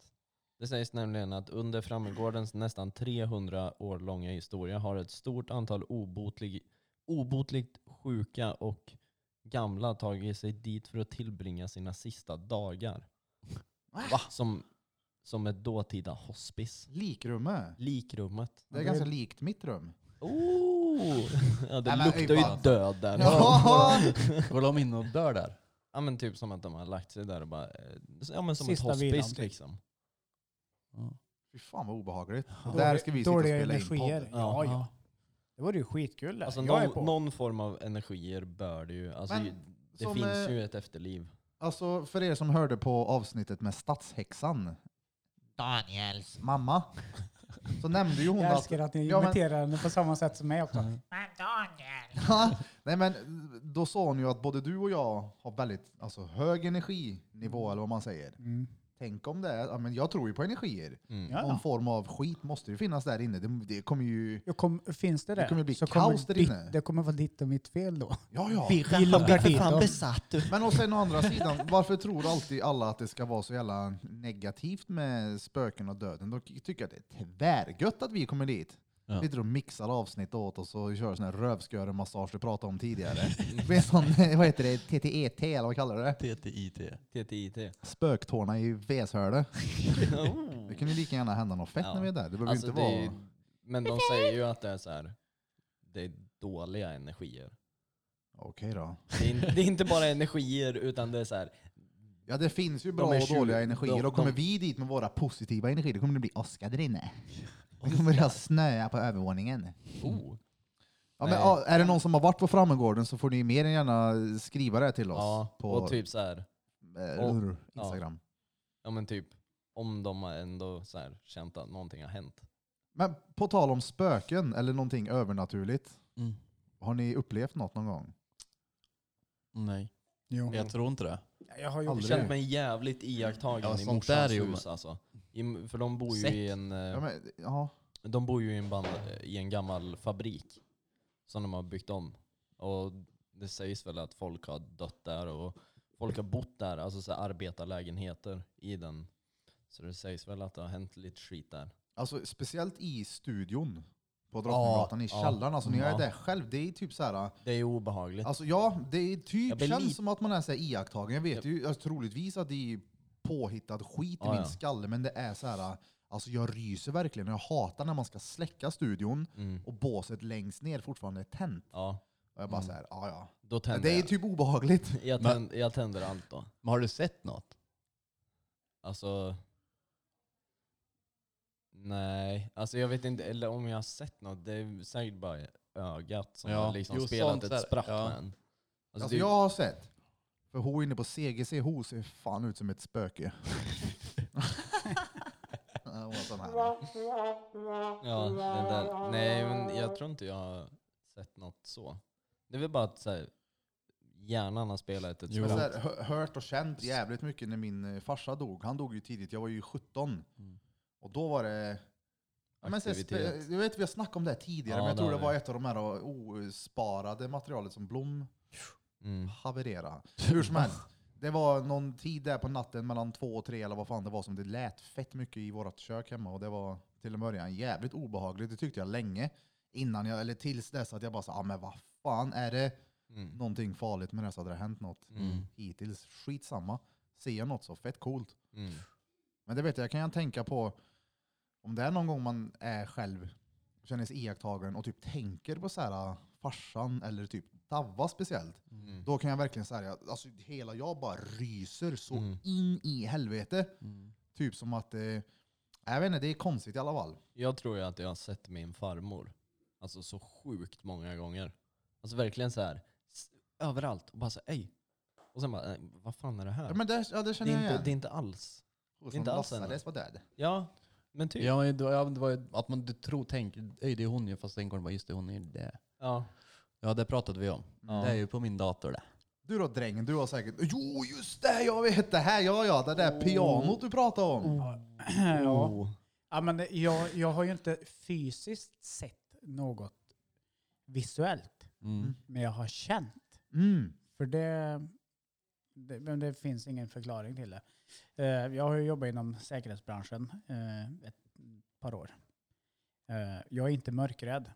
Det sägs nämligen att under Frammegårdens nästan 300 år långa historia har ett stort antal obotlig, obotligt sjuka och gamla tagit sig dit för att tillbringa sina sista dagar.
Va?
Som, som ett dåtida hospice.
Likrumme.
Likrummet.
Det är ganska likt mitt rum.
Oh! [LAUGHS] Ja, det
Nej, men
luktar
fy fan.
ju död där.
Ja.
[LAUGHS] Går de in och dör där?
Ja men typ som att de har lagt sig där och bara... eh, Ja men som
Sista
ett hospice
vilan, typ.
liksom.
Fy fan vad obehagligt.
Dålig-
Där ska vi sitta och
dåliga
spela in
energier.
podden.
Ja,
Ja.
ja. Det vore ju skitkul.
Alltså
jag är
någon,
på.
någon form av energier bör det ju. Alltså,
Men
ju- det
som,
finns
eh,
ju ett efterliv.
Alltså för er som hörde på avsnittet med stadshäxan,
Daniels.
mamma, så nämnde ju hon
jag
att...
älskar att ni
Ja, men- Mm.
imiterar henne på samma sätt som mig också.
Men Daniel.
[LAUGHS] Ja, Nej men då sa hon ju att både du och jag har väldigt alltså, hög energinivå eller vad man säger.
Mm.
Tänk om det är, ja, men jag tror ju på energier.
Mm.
Ja,
Någon
ja.
form av skit måste ju finnas där inne. Det, det kommer ju,
Jag kom, finns det där?
Det kommer bli
så
kaos där
ditt-
inne.
Det kommer vara ditt och mitt fel då.
ja ja.
Vi loggar dit dem.
besatt.
Men och sen å andra sidan, varför tror alltid alla att det ska vara så jävla negativt med spöken och döden? De tycker att det är tvärgött att vi kommer dit.
Ja.
Sitter och mixar avsnitt åt oss och kör sån här rövsköre-massage du pratade om tidigare. Det blir sån, [LAUGHS] vad heter det, TTET eller vad kallar du det?
TTIT.
TTIT.
Spöktårna i Veshöle.
[LAUGHS]
Mm. Det kan ju lika gärna hända något fett
Ja.
när vi är där. Det behöver
Alltså,
inte
det är
vara...
ju, men de säger ju att det är så här. det är dåliga energier.
Okej då.
Det är, in, det är inte bara energier utan det är så här.
Ja det finns ju bra
är
och dåliga
tjugo.
energier
De-
och kommer
de-
vi dit med våra positiva energier då kommer det bli åska där inne. Det kommer att snöa på övervåningen.
Oh.
Ja, men,
Nej.
ja, är det någon som har varit på Frammegården så får ni mer än gärna skriva det till oss
Ja,
på
och typ så här.
eh,
och-
Instagram.
Ja men typ om de har ändå så här känt att någonting har hänt.
Men på tal om spöken eller någonting övernaturligt.
Mm.
Har ni upplevt något någon gång?
Mm, Nej,
Jo.
jag tror inte det.
Jag har ju
Jag
Aldrig.
känt mig jävligt iakttagen
Ja,
i
sånt där
morsans
är ju-
hus alltså. I, för de bor ju
Sett.
i en... eh,
Ja, men, ja.
De bor ju i en, band, eh, i en gammal fabrik som de har byggt om. Och det sägs väl att folk har dött där och folk har bott där, alltså så här arbetarlägenheter i den. Så det sägs väl att det har hänt lite skit där.
Alltså, speciellt i studion på Drottninggatan i
ja.
källaren. Alltså, när jag är
Ja.
där själv, det är typ så här...
Det är ju obehagligt.
Alltså, ja, det är
Jag
typ
blir
känns
lite-
som att man är så här iakttagen. Jag vet ju alltså, troligtvis att det är påhittad skit i
Ja,
min
ja.
skalle, men det är så här... Alltså jag ryser verkligen och jag hatar när man ska släcka studion
Mm.
och båset längst ner fortfarande är tänt.
Ja,
Och
Mm.
jag bara så här, ja ja.
då tänder
Det är
jag.
typ obehagligt.
Jag,
Men-
tänd, jag tänder allt då.
Men har du sett något?
Alltså... Nej, alltså jag vet inte, eller om jag har sett något, det är säkert bara ögat som
Ja,
har liksom
jo,
spelat
sånt där,
ett spratt
ja.
med en. Alltså
Alltså
det är ju-
jag har sett. För hon inne på CGC, hon ser fan ut som ett
[LAUGHS]
spöke. Ja, hon var sån här.
Ja, den där. Nej, men jag tror inte jag har sett något så. Det är väl bara att så här, hjärnan har spelat ett
Jo.
Men så
spratt.
här, hö- hört och känt jävligt mycket när min eh, farsa dog. Han dog ju tidigt, jag var ju 17.
Mm.
Och då var det... Ja, Men så här,
Aktivitet.
spe- jag vet vi har snackat om det här tidigare,
Ja,
men jag
det
tror det
har vi.
var ett av de här eh, osparade materialet som Blom
Mm.
haverera. Hur som helst. Det var någon tid där på natten mellan två och tre eller vad fan det var som det lät fett mycket i vårt kök hemma och det var till en början jävligt obehagligt. Det tyckte jag länge innan jag, eller tills dess att jag bara sa, ah, men vad fan är det
Mm.
någonting farligt med det här så hade det hänt något
Mm.
hittills. Skitsamma. Ser jag något så fett coolt.
Mm.
Men det vet jag, kan jag tänka på om det är någon gång man är själv, känner sig iakttagen och typ tänker på så här farsan eller typ Davva speciellt.
Mm.
Då kan jag verkligen säga, jag- alltså hela jag bara ryser så
Mm.
in i helvete.
Mm.
Typ som att, eh, jag vet inte, det är konstigt i alla fall.
Jag tror ju att jag har sett min farmor. Alltså så sjukt många gånger. Alltså verkligen så här s- överallt och bara så här, ej. Och sen bara, "Nej, vad fan är det här?
Ja, men det, ja, det
det,
känner
är
jag
inte,
igen.
det är inte alls.
Och
det är
som
inte alls
Lasse
en-
Lass var död.
Ja, men typ.
Ja, men det var- ja, men det var ju att man du tror, tänker, "Ej, det är hon ju, fast sen går det bara, just det, hon är ju det.
Ja.
Ja, det pratade vi om.
Ja.
Det är ju på min dator det.
Du då drängen, du har säkert, jo just det, jag vet det här, ja ja, det där pianot du pratade om.
ja.
Oh.
Ja, men det- jag, jag har ju inte fysiskt sett något visuellt,
Mm.
men jag har känt.
Mm.
För det, det, men det finns ingen förklaring till det. Eh, jag har ju jobbat inom säkerhetsbranschen eh, ett par år. Eh, jag är inte mörkrädd.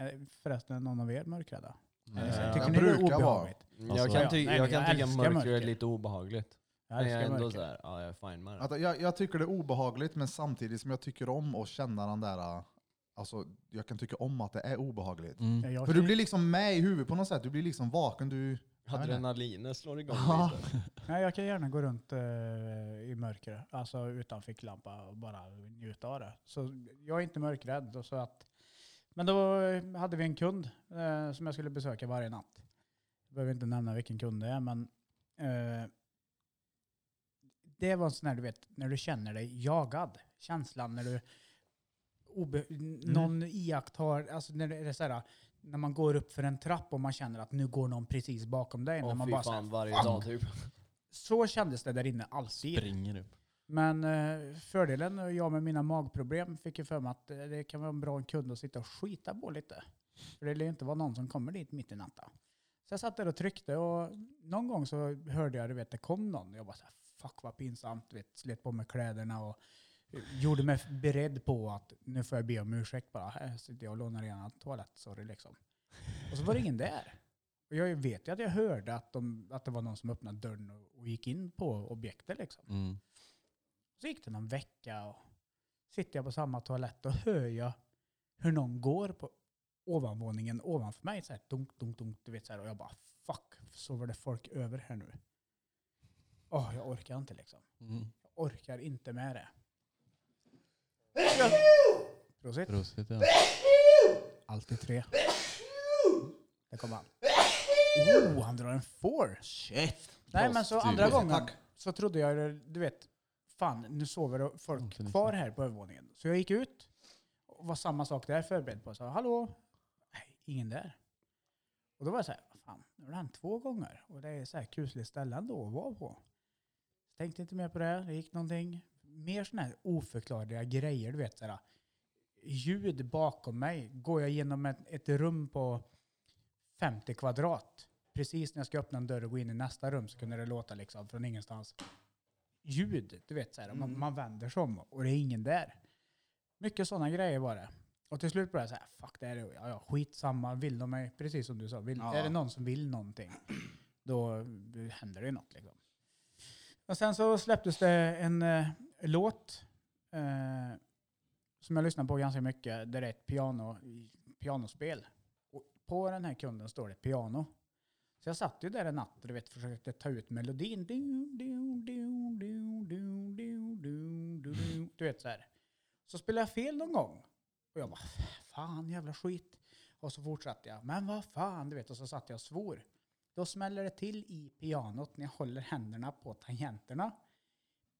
Uh, förresten, är någon av er mörkrädda?
Nej.
Mm.
Eller så-
Jag
Tycker ni det är
brukar vara.
obehagligt?
Alltså,
jag kan, ty-
Ja, nej,
jag
jag
kan tycka
älskar
mörker, är
mörker.
lite obehagligt.
Jag
Men
älskar
jag är ändå
mörker.
så här, ja jag är fine med det.
Att jag, jag tycker det är obehagligt, men samtidigt som jag tycker om att känna den där, eh, alltså jag kan tycka om att det är obehagligt.
Ja,
Mm.
jag
För du
kan-
blir liksom med i huvudet på något sätt, du blir liksom vaken, du...
Adrenalinet slår igång
Ja.
lite.
Nej, jag kan gärna gå runt eh, i mörker, alltså utan ficklampa och bara njuta av det. Så jag är inte mörkrädd. och Så att Men då eh, hade vi en kund eh, som jag skulle besöka varje natt. Jag behöver inte nämna vilken kund det är, men eh, det var en sån här, du vet, när du känner dig jagad. Känslan när du obe-
Mm.
någon iakttar, alltså när det är så här, när man går upp för en trapp och man känner att nu går någon precis bakom dig. när
Åh
man
fy
bara, så, här,
fan, varje dag typ.
så kändes det där inne alltid.
Springer upp.
Men eh, fördelen, och jag med mina magproblem, fick ju för mig att eh, det kan vara en bra kund att sitta och skita på lite. För det lär ju inte vara någon som kommer dit mitt i natten. Så jag satt där och tryckte och någon gång så hörde jag, du vet, det kom någon. Jag bara så här, fuck vad pinsamt, du vet, slet på mig kläderna och gjorde mig beredd på att nu får jag be om ursäkt bara. Här sitter jag och lånar en toalett, sorry liksom. Och så var det ingen där. Och jag vet ju att jag hörde att, de, att det var någon som öppnade dörren och, och gick in på objektet liksom.
Mm.
Så gick det någon vecka och sitter jag på samma toalett och hör jag hur någon går på ovanvåningen ovanför mig. Så här dunk, dunk, dunk, du vet så här. Och jag bara fuck, sover det folk över här nu? Åh, jag orkar inte liksom.
Mm.
Jag orkar inte med det. Prosit.
Prosit ja.
Alltid tre. Där kommer han. Oh, han drar en four. Shit. Nej, men så
Prostitut.
andra gången
Tack.
så trodde jag, det- du vet, fan nu sover det folk
Mm,
kvar här på övervåningen. Så jag gick ut och var samma sak där förberedd på. Så hallå? Nej, ingen där. Och då var jag så här, "Vad fan, nu har det hänt två gånger och det är så här kusligt ställe ändå att vara på. Tänkte inte mer på det, det gick någonting. Mer sådana här oförklarliga grejer, du vet. Så här, ljud bakom mig. Går jag genom ett, ett rum på 50 kvadrat, precis när jag ska öppna en dörr och gå in i nästa rum så kunde det låta liksom från ingenstans. Ljud, du vet så här, man, man vänder sig om och det är ingen där. Mycket sådana grejer var det. Och till slut började jag säga, fuck det här är ja, ja, skitsamma, vill de mig, precis som du sa, vill,
Ja.
är det någon som vill någonting, då händer det ju något liksom. Och sen så släpptes det en eh, låt eh, som jag lyssnar på ganska mycket, där det är ett piano, pianospel. Och på den här kunden står det ett piano. Så jag satt ju där en natt och du vet, försökte ta ut melodin. Du, du, du, du, du, du, du, du, du. Du vet så här. Så spelade jag fel någon gång. Och jag bara, fan jävla skit. Och så fortsatte jag, men vad fan, du vet. Och så satt jag och svor. Då smäller det till i pianot när jag håller händerna på tangenterna.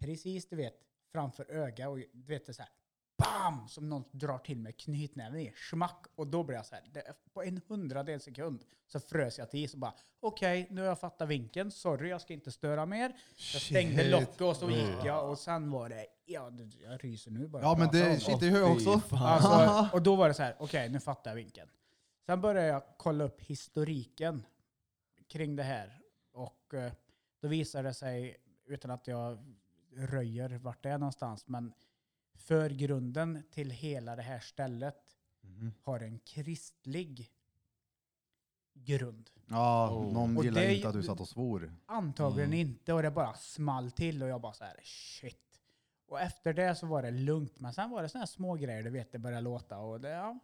Precis, du vet, framför öga och du vet det är så här, bam! Som någon drar till med knytnäven i, smack! Och då blir jag så här, det, på en hundradel sekund så frös jag till så bara, okej, nu har jag fattat vinkeln, sorry, jag ska inte störa mer. Jag stängde
Shit.
locket och så gick jag och sen var det, ja, det- jag ryser nu bara.
Ja men
jag pratar om
det, shit det hör jag också. [LAUGHS]
Alltså, och då var det så här, okej nu fattar jag vinkeln. Sen började jag kolla upp historiken kring det här. Och eh, då visade det sig, utan att jag röjer vart det är någonstans, men förgrunden till hela det här stället
Mm-hmm.
har en kristlig grund.
Ja,
Oh.
någon
Och
gillar
det-
inte att du satt och svor.
Mm.
Antagligen inte och det bara small till och jag bara så här shit. Och efter det så var det lugnt, men sen var det såna här små grejer, du vet, det började låta och det, ja.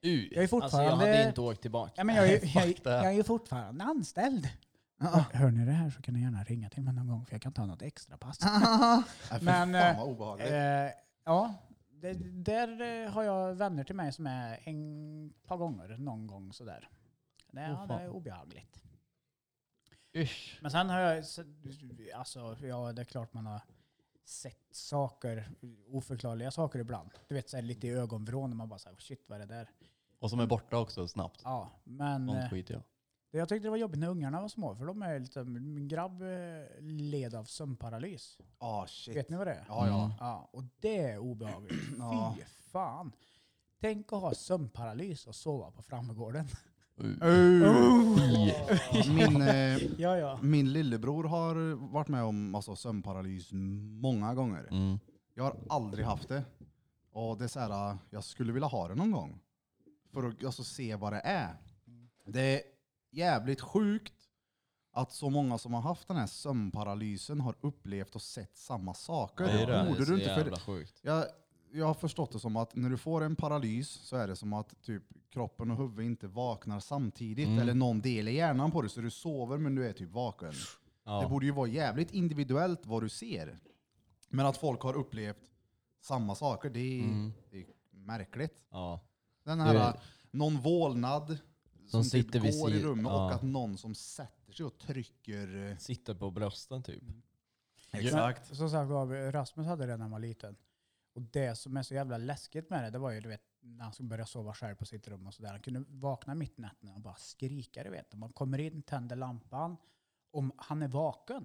Jag är
Alltså
fortfarande...
jag hade inte åkt tillbaka.
Ja, men jag, är, ju- jag, är-
Fuck det.
jag är ju fortfarande anställd. Hör ni det här så kan ni gärna ringa till mig någon gång för jag kan ta något extra
[LAUGHS]
pass.
Nej, fy
Men,
Äh, fan
eh,
vad obehagligt.
eh, ja, det, där eh, har jag vänner till mig som är en par gånger någon gång sådär. Det, ja, det är obehagligt.
Usch.
Men sen har jag, så- alltså ja det är klart man har sett saker, oförklarliga saker ibland. Du vet så här, lite i ögonvrån när man bara säger shit vad är det där?
Och som är borta också snabbt.
Ah,
Ja, men... eh,
Sånt skiter jag.
Det Jag tyckte det var jobbigt när ungarna var små, för de är lite, min grabb eh, led av sömnparalys.
Ja Ah, shit.
Vet ni vad det är?
Ja ja.
Mm.
Ja, och det är obehagligt.
[CLEARS THROAT] Ja.
Fy fan. Tänk att ha sömnparalys och sova på framgården.
Mm.
Mm.
[LAUGHS] Min, eh,
Ja, ja.
min lillebror har varit med om alltså, sömnparalys många gånger.
Mm.
Jag har aldrig haft det. Och det är så här, jag skulle vilja ha det någon gång. För att alltså, se vad det är. Det är jävligt sjukt att så många som har haft den här sömnparalysen har upplevt och sett samma saker.
Nej,
det
är
borde
så
du inte. För
jävla sjukt.
jag, jag har förstått det som att när du får en paralys så är det som att typ kroppen och huvudet inte vaknar samtidigt.
Mm.
Eller någon del i hjärnan på dig. Så du sover men du är typ vaken. Det
Ja.
borde ju vara jävligt individuellt vad du ser. Men att folk har upplevt samma saker, det är, det är märkligt.
Ja.
Den
Du
här,
vet.
någon vålnad som,
sitter
typ
vid
går i
sid-
rummet och
ja.
att någon som sätter sig och trycker. eh,
Sitter på brösten typ.
Exakt.
Men, som sagt var, Rasmus hade det när han var liten. Och det som är så jävla läskigt med det, det var ju du vet, när han skulle börja sova själv på sitt rum och sådär. Han kunde vakna mitt i natten och bara skrika, du vet. Och Man kommer in, tänder lampan. Om han är vaken.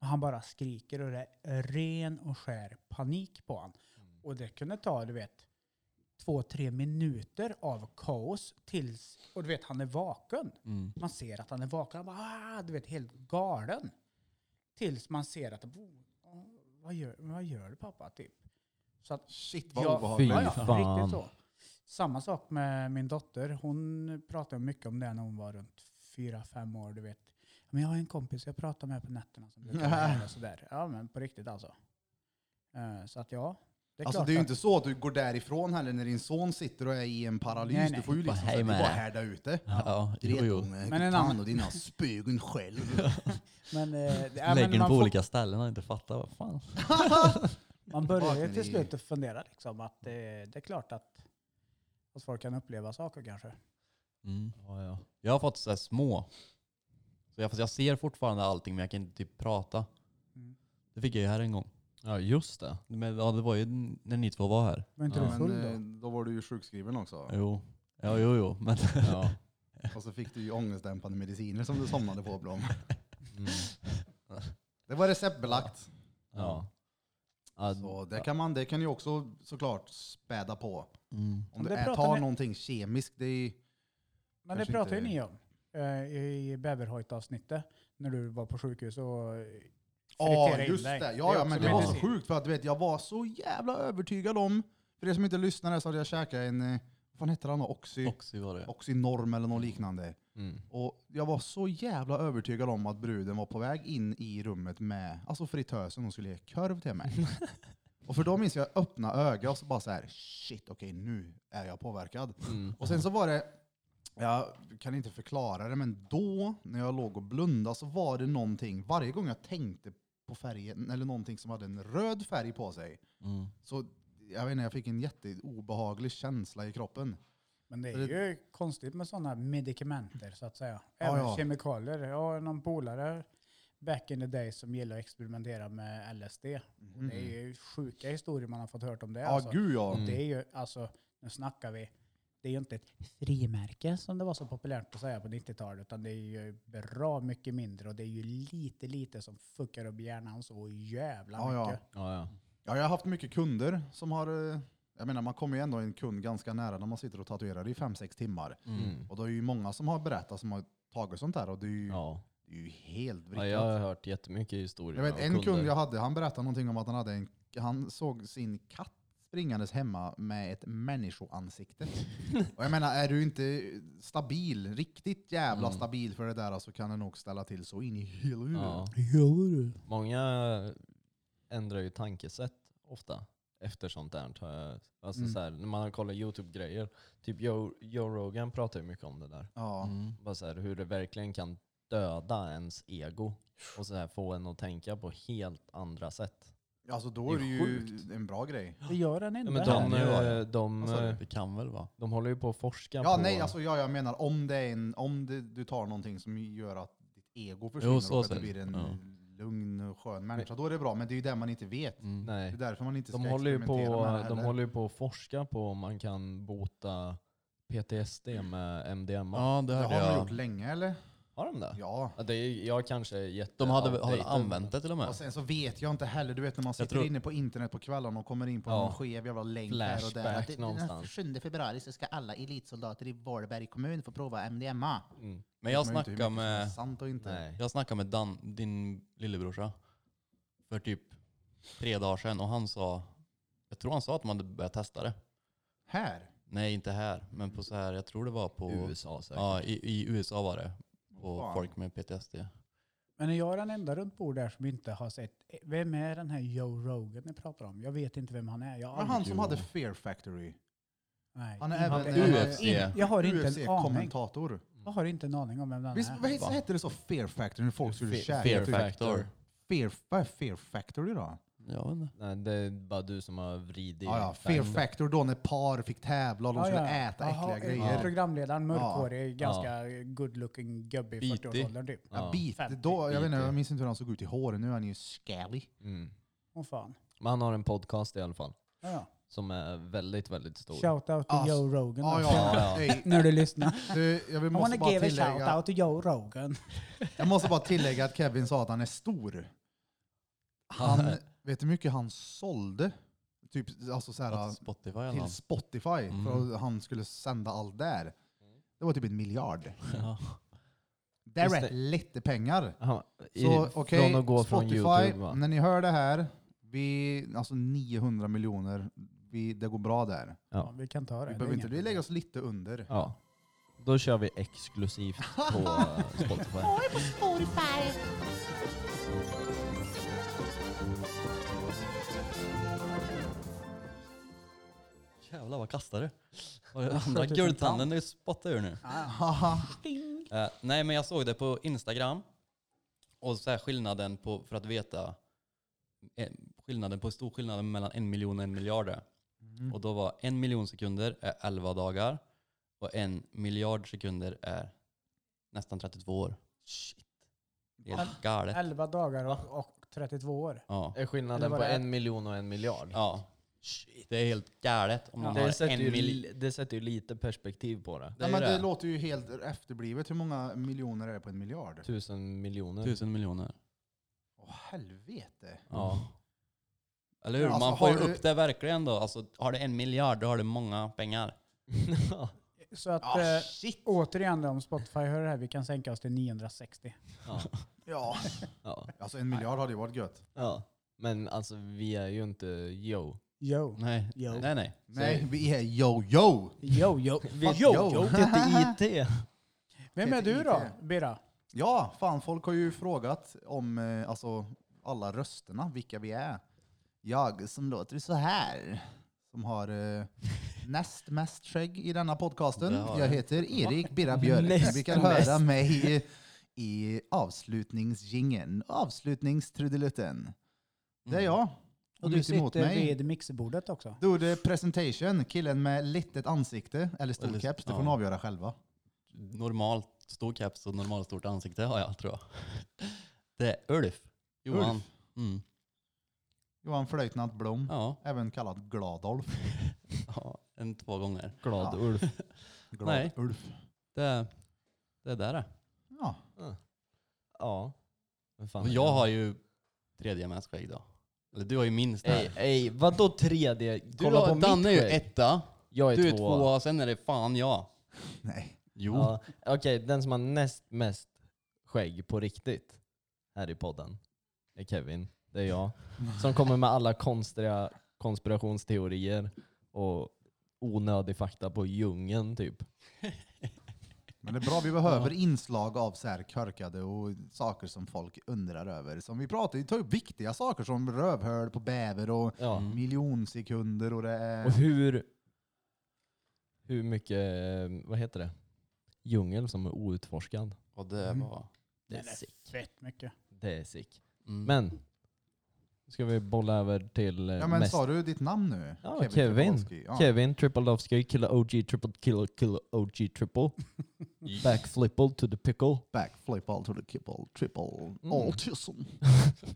Men han bara skriker och det är ren och skär panik på han. Och det kunde ta, du vet, två, tre minuter av kaos tills, och du vet, han är vaken.
Mm.
Man ser att han är vaken. Han bara, ah, du vet, helt galen. Tills man ser att, "Bo, ah, vad gör, vad gör du pappa? Typ. Så att,
Shit vad
Ja,
obehagligt.
fy.
ja, ja,
fan.
riktigt så. Samma sak med min dotter. Hon pratade mycket om det när hon var runt fyra fem år. Du vet. Men jag har en kompis jag pratar med på nätterna som brukar göra det och sådär. Ja men på riktigt alltså. Eh, Så att ja. Det är
Alltså
klart
det är ju
att-
inte så att du går därifrån heller när din son sitter och är i en paralys.
Nej, nej.
Du får ju liksom så
Bara, "Hej
att du
med
bara
dig."
härda ut det.
Ja, jo, jo.
Men en annan-
och dina spögen själv.
Men, eh, det- ja,
Lägger
men
den
man,
på
får,
olika ställen och inte fattar vad fan.
man börjar ju
Vaknar
till
i-
slut att fundera liksom att eh, det är klart att, att folk kan uppleva saker kanske.
Mm.
Ja, ja.
Jag har fått så här små. Så jag, fast jag ser fortfarande allting men jag kan inte typ prata.
Mm.
Det fick jag ju här en gång.
ja just det.
Men, ja, det var ju n- när ni två var här.
Var inte
Ja,
du full
Men
då?
eh, då var du ju sjukskriven också.
Jo. Ja, jo, jo. Men [LAUGHS]
Ja.
Och så fick du ju ångestdämpande mediciner som du somnade på Blom.
Mm.
Det var receptbelagt.
ja. ja.
Så det kan, man, det kan ju också såklart späda på.
mm.
Men
Om du
det
ä-
pratar
tar
ni-
någonting kemiskt, det är
Men det
Kanske
pratade ju
inte-
ni om eh, i bäverhojt-avsnittet när du var på sjukhus och eh,
Ja,
friterade in
just
dig.
det. Ja, ja,
är
men
också
det var så
medicin.
sjukt för att du vet, jag var så jävla övertygad om, för er som inte lyssnade så hade jag käkat en, eh, vad fan heter han då? Oxy,
Oxy var det.
Oxynorm eller något liknande.
Mm.
Och jag var så jävla övertygad om att bruden var på väg in i rummet med alltså fritösen hon skulle ge korv till mig.
[LAUGHS]
och för då minns jag öppna ögon och så bara så här, shit okej nu är jag påverkad.
Mm.
Och sen så var det, jag kan inte förklara det, men då när jag låg och blundade så var det någonting, varje gång jag tänkte på färgen, eller någonting som hade en röd färg på sig,
Mm.
så jag vet inte, jag fick en jätteobehaglig känsla i kroppen.
Men det
Så det-
är ju konstigt med sådana medikamenter så att säga.
Ja,
Även
ja.
kemikalier. Jag har någon polare back in the day som gillar att experimentera med LSD. Och Mm. det är ju sjuka historier man har fått hört om det.
Mm. Ja,
alltså.
gud ja.
Och det är ju, alltså, nu snackar vi, det är ju inte ett frimärke som det var så populärt att säga på 90-talet, utan det är ju bra mycket mindre och det är ju lite, lite som fuckar upp hjärnan så jävla
Ja, ja.
mycket.
Ja, ja.
Ja, jag har haft mycket kunder som har... eh, Jag menar, man kommer ju ändå en kund ganska nära när man sitter och tatuerar i fem sex timmar.
Mm.
Och då är ju många som har berättat som har tagit sånt här och det är ju,
Ja.
det är ju helt vrickat.
ja. Jag har hört jättemycket historier
Mm. jag vet
av
en
kunder.
kund jag hade, han berättade någonting om att han, hade en, han såg sin katt springandes hemma med ett
[LAUGHS]
människoansikte. och jag menar, är du inte stabil, riktigt jävla
Mm.
stabil för det där så kan det nog ställa till så in i hela huvudet.
Ja. Många ändrar ju tankesätt ofta efter sånt där. har jag- Alltså
Mm.
så här, när man har kollat YouTube-grejer. Typ Joe, Joe Rogan pratar ju mycket om det där.
Ja.
Mm.
Bara så här, hur det verkligen kan döda ens ego och så här, få en att tänka på helt andra sätt.
Alltså då är
Det
det
är
ju
sjukt.
en bra grej.
Det gör den inte.
men
här.
de,
det gör jag.
eh, de,
Vad sa du?
eh,
Det kan väl vara?
de håller ju på att forska
Ja,
på...
nej, alltså, ja, jag menar om, det är en, om det, du tar någonting som gör att ditt ego försvinner
så
och att
sen.
du blir en
Ja.
lugn och skön människa, då är det bra. Men det är ju det man inte vet.
Mm.
Det är
nej.
därför man inte ska
De håller, ju på,
experimentera med det
de
heller.
håller ju på att forska på om man kan bota PTSD med MDMA.
Ja, det
Det
hörde
har man
jag.
gjort länge eller?
Har de det?
Ja.
Ja, det är, jag kanske är jätte
De hade, väl- har väl
outdated,
använt det till och med?
Och sen så vet jag inte heller, du vet när man sitter
tror-
inne på internet på kvällarna och kommer in på
Ja.
någon skev jävla länk här och där.
Flashback
Att det-
någonstans.
7 februari så ska alla elitsoldater i Varberg kommun få prova MDMA.
men- Mm.
Men jag
Man vet ju inte
snackade
hur mycket som är
med,
Sant och inte.
Nej.
jag snackade med Dan, din lillebrorsa för typ tre dagar sedan och han sa, jag tror han sa att man hade börjat testa det.
Här?
Nej, inte här, men på så här, jag tror det var på...
USA säkert.
Ja, i, i USA var det. På
Fan.
folk med PTSD.
Men är jag den enda runt bord där som inte har sett, vem är den här Joe Rogan ni pratar om? Jag vet inte vem han är. Jag har
Men han
aldrig-
som hade Fear Factory.
Nej.
Han är
Inte-
även- eh,
inte-
UFC.
inte- Jag har inte en aning.
UFC-kommentator.
Jag har inte en aning om vem den
Visst, vad
är.
heter,
Va?
hette det så? Fear Factory? När folk skulle
Fe-
käka?
Fear
typ?
factor.
Fear, vad är Fear Factory då?
Jag vet inte.
Nej, det är bara du som har vridit.
Ja, ja. Fear
tanken.
Factor då när par fick tävla och de skulle äta äckliga
Jaha, eh,
grejer.
Programledaren, mörkhårig, ganska good-looking gubbe i
Bitig.
40-årsåldern typ.
Ja,
Ja.
bit,
Femtio.
då, jag, vet inte,
Bitig.
jag minns inte hur han såg ut i håret, nu är han ju skallig.
Mm.
Åh fan.
Men han har en podcast i alla fall.
Ja, ja.
Som är väldigt, väldigt stor.
Shout out till
Ass-
Joe Rogan.
Ja,
då.
ja,
Ja.
hej.
[LAUGHS] När du lyssnar.
Du, jag vill-
I wanna
måste bara
give a shout
tillägga
out to Joe Rogan.
Jag måste bara tillägga att Kevin sa att han är stor.
[LAUGHS]
Han, vet du hur mycket han sålde? Typ alltså så här,
Att Spotify eller
till
något.
Spotify
Mm.
för att han skulle sända allt där. Det var typ en miljard. [LAUGHS]
Ja.
Det är
Just
rätt
det.
lite pengar.
Ja, i,
Så okej,
från att gå från
Spotify,
Youtube va?
när ni hör det här, vi, alltså 900 miljoner, vi, det går bra där.
Ja, vi kan ta det.
Vi
Det är
behöver inte,
inga
vi lägger
problem.
oss lite under.
Ja. Då kör vi exklusivt på eh, Spotify.
Spotify.
Jävlar vad kastar du? Har du andra guldtanden du spottar ur nu? Eh, nej men jag såg det på Instagram. Och så här skillnaden på, för att veta eh, skillnaden på stor skillnaden mellan en miljon och en miljard. är. Och då var en miljon sekunder är 11 dagar och en miljard sekunder är nästan 32 år. Shit. Det är helt galet.
11 dagar och, och 32 år.
Ja.
Är
Eller
skillnaden
vad [LAUGHS]
på
det är?
en miljon och en miljard?
ja. Det är helt galet om
Ja.
man
Det,
har
sätter
en
ju,
miljon.
li- det sätter ju lite perspektiv på det.
Det
Ja,
är
men
ju
det
det.
låter ju helt efterblivet. Hur många miljoner är det på en miljard?
Tusen miljoner.
Tusen miljoner.
Åh helvete.
Ja. Eller hur?
Ja, alltså,
man får ju
har du-
upp det verkligen då. Alltså, har du en miljard, då har du många pengar.
[LAUGHS] ja.
Så att
Ah,
eh,
shit.
återigen då, om Spotify hör det här, vi kan sänka oss till 960.
Ja.
Ja.
Alltså en miljard hade ju varit gött.
ja. Men alltså vi är ju inte yo.
Yo.
Nej,
Jo.
nej, nej.
Nej, vi är yo-yo.
Yo, yo.
Vi
Yo, yo.
inte IT.
Vem är du då,
TTIT?
Birra?
Ja, fan folk har ju frågat om eh, alltså, alla rösterna, vilka vi är. Jag som låter så här, som har eh, näst mest skägg i denna podcasten.
Det har
Jag
jag.
heter Erik Birra Björk.
Näst
Vi kan höra mig i, i avslutningsjingeln, avslutningstrudelutten. Det är jag.
Och du
mitt emot
sitter vid mixerbordet också.
Då är det presentation, killen med litet ansikte, eller stor
Eller-
keps, det får
ja.
ni avgöra själva.
Normalt stor keps och normalt stort ansikte har jag, tror jag. Det är Ulf. Johan.
Ulf.
Mm.
Johan Flöjtnant Blom,
Ja.
[LAUGHS] även kallad Gladolf.
ja, en två gånger.
[LAUGHS] Glad Ulf.
Glad
Nej.
Ulf.
Det, det är där det.
Ja.
Ja. Vad fan
Och
är
jag
det?
har ju tredje mest skägg då. Eller du har ju minst.
Ey, ey, vadå 3D?
Du
Kolla
har,
på
Danne är
mitt
ju
skägg.
etta,
Jag är
du är
tvåa.
tvåa, sen är det fan jag.
Nej.
Jo.
Ja, Okej, den som har näst mest skägg på riktigt här i podden är Kevin. Det är jag. Som kommer med alla konstiga konspirationsteorier och onödig fakta på djungeln typ.
Men det är bra, vi behöver inslag av så här körkade och saker som folk undrar över. Som vi pratar, vi tar upp viktiga saker som rövhörd på bäver och
Ja.
miljonsekunder och det
Mm. Och
är...
hur, hur mycket, eh, vad heter det, djungel som är outforskad.
Och det
Mm.
var...
Det är
Den är
sick.
Fett mycket.
Det är sick.
Mm.
Men, nu ska vi bolla över till eh,
Ja men
mest
sa du ditt namn nu?
Ja, Kevin.
Kowalski. Ja.
Kevin, triple love ski, killer OG, triple killer, killer OG, triple. Backflipple to the pickle.
Backflip all to the kibble, triple,
Mm. [LAUGHS]
autism.
[LAUGHS]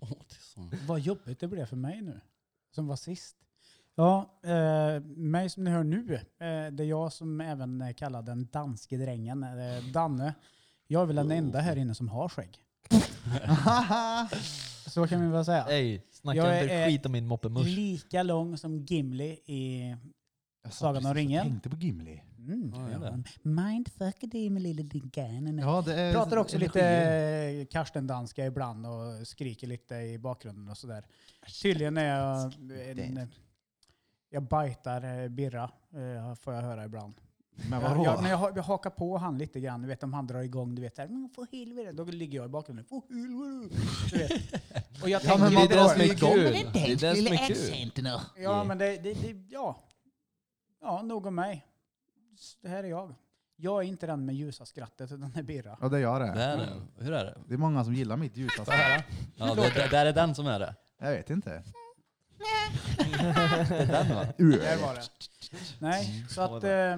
Åh, det är sån-
Vad jobbigt det blev för mig nu, som var sist. Ja, eh, mig som ni hör nu, eh, det är jag som även eh, kallar den danske drängen, eh, Danne. Jag är väl den enda här inne som har skägg. Så kan vi väl säga.
Ey, snacka
Jag
inte
är-
skit om min moppemusch.
Lika lång som Gimli i...
Jag satt
Sagan om
precis och
ringen.
tänkte på Gimli.
Mm,
Ja, det är det.
Mindfuck dig med lille digganen.
Ja, det är
Eh, Pratar också
energier.
lite Karsten-danska ibland och skriker lite i bakgrunden och sådär. Tydligen är jag en, Jag bajtar eh, Birra, eh, får jag höra ibland.
Men
Jag,
vadå?
jag, men jag, ha- jag hakar på han lite grann, du vet om han drar igång, du vet såhär, "Men för helvete. Då ligger jag i bakgrunden, för helvete. Du
[LAUGHS]
vet. Och jag
Ja,
tänker,
men man
det är det
drar
som
ju
är
igång.
kul.
Den
Det är
danska
det som
lilla
är kul.
accenten. då.
ja men det, det, det, ja. Ja, nog om mig. S- Det här är jag. Jag är inte den med ljusa skrattet, utan det är Birra.
Ja, det gör
Det
det.
är det. Hur är det?
[LAUGHS]
Det är många som gillar mitt ljusa skratt.
Ja, det, det, det är den som är det.
Jag vet inte.
Där var det. Nej, så att eh,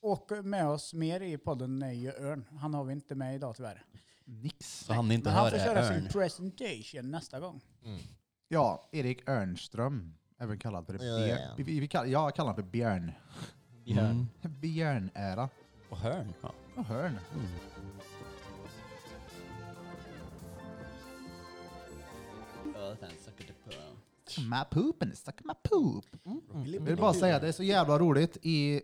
åk med oss mer i podden är ju Örn. Han har vi inte med idag tyvärr.
Nix.
Så han inte
Men han
hör
får
det
köra
här
sin
örn.
presentation nästa gång.
Ja, Erik Örnström. Även kallad för
Ja, ja.
Björn. Vi, vi kall, jag kallar honom för Björn.
Mm.
Björnära.
Och hörn. Ja.
Och Hörn. Suck my poop and suck my poop.
Mm.
Jag vill bara säga, det är så jävla roligt. I,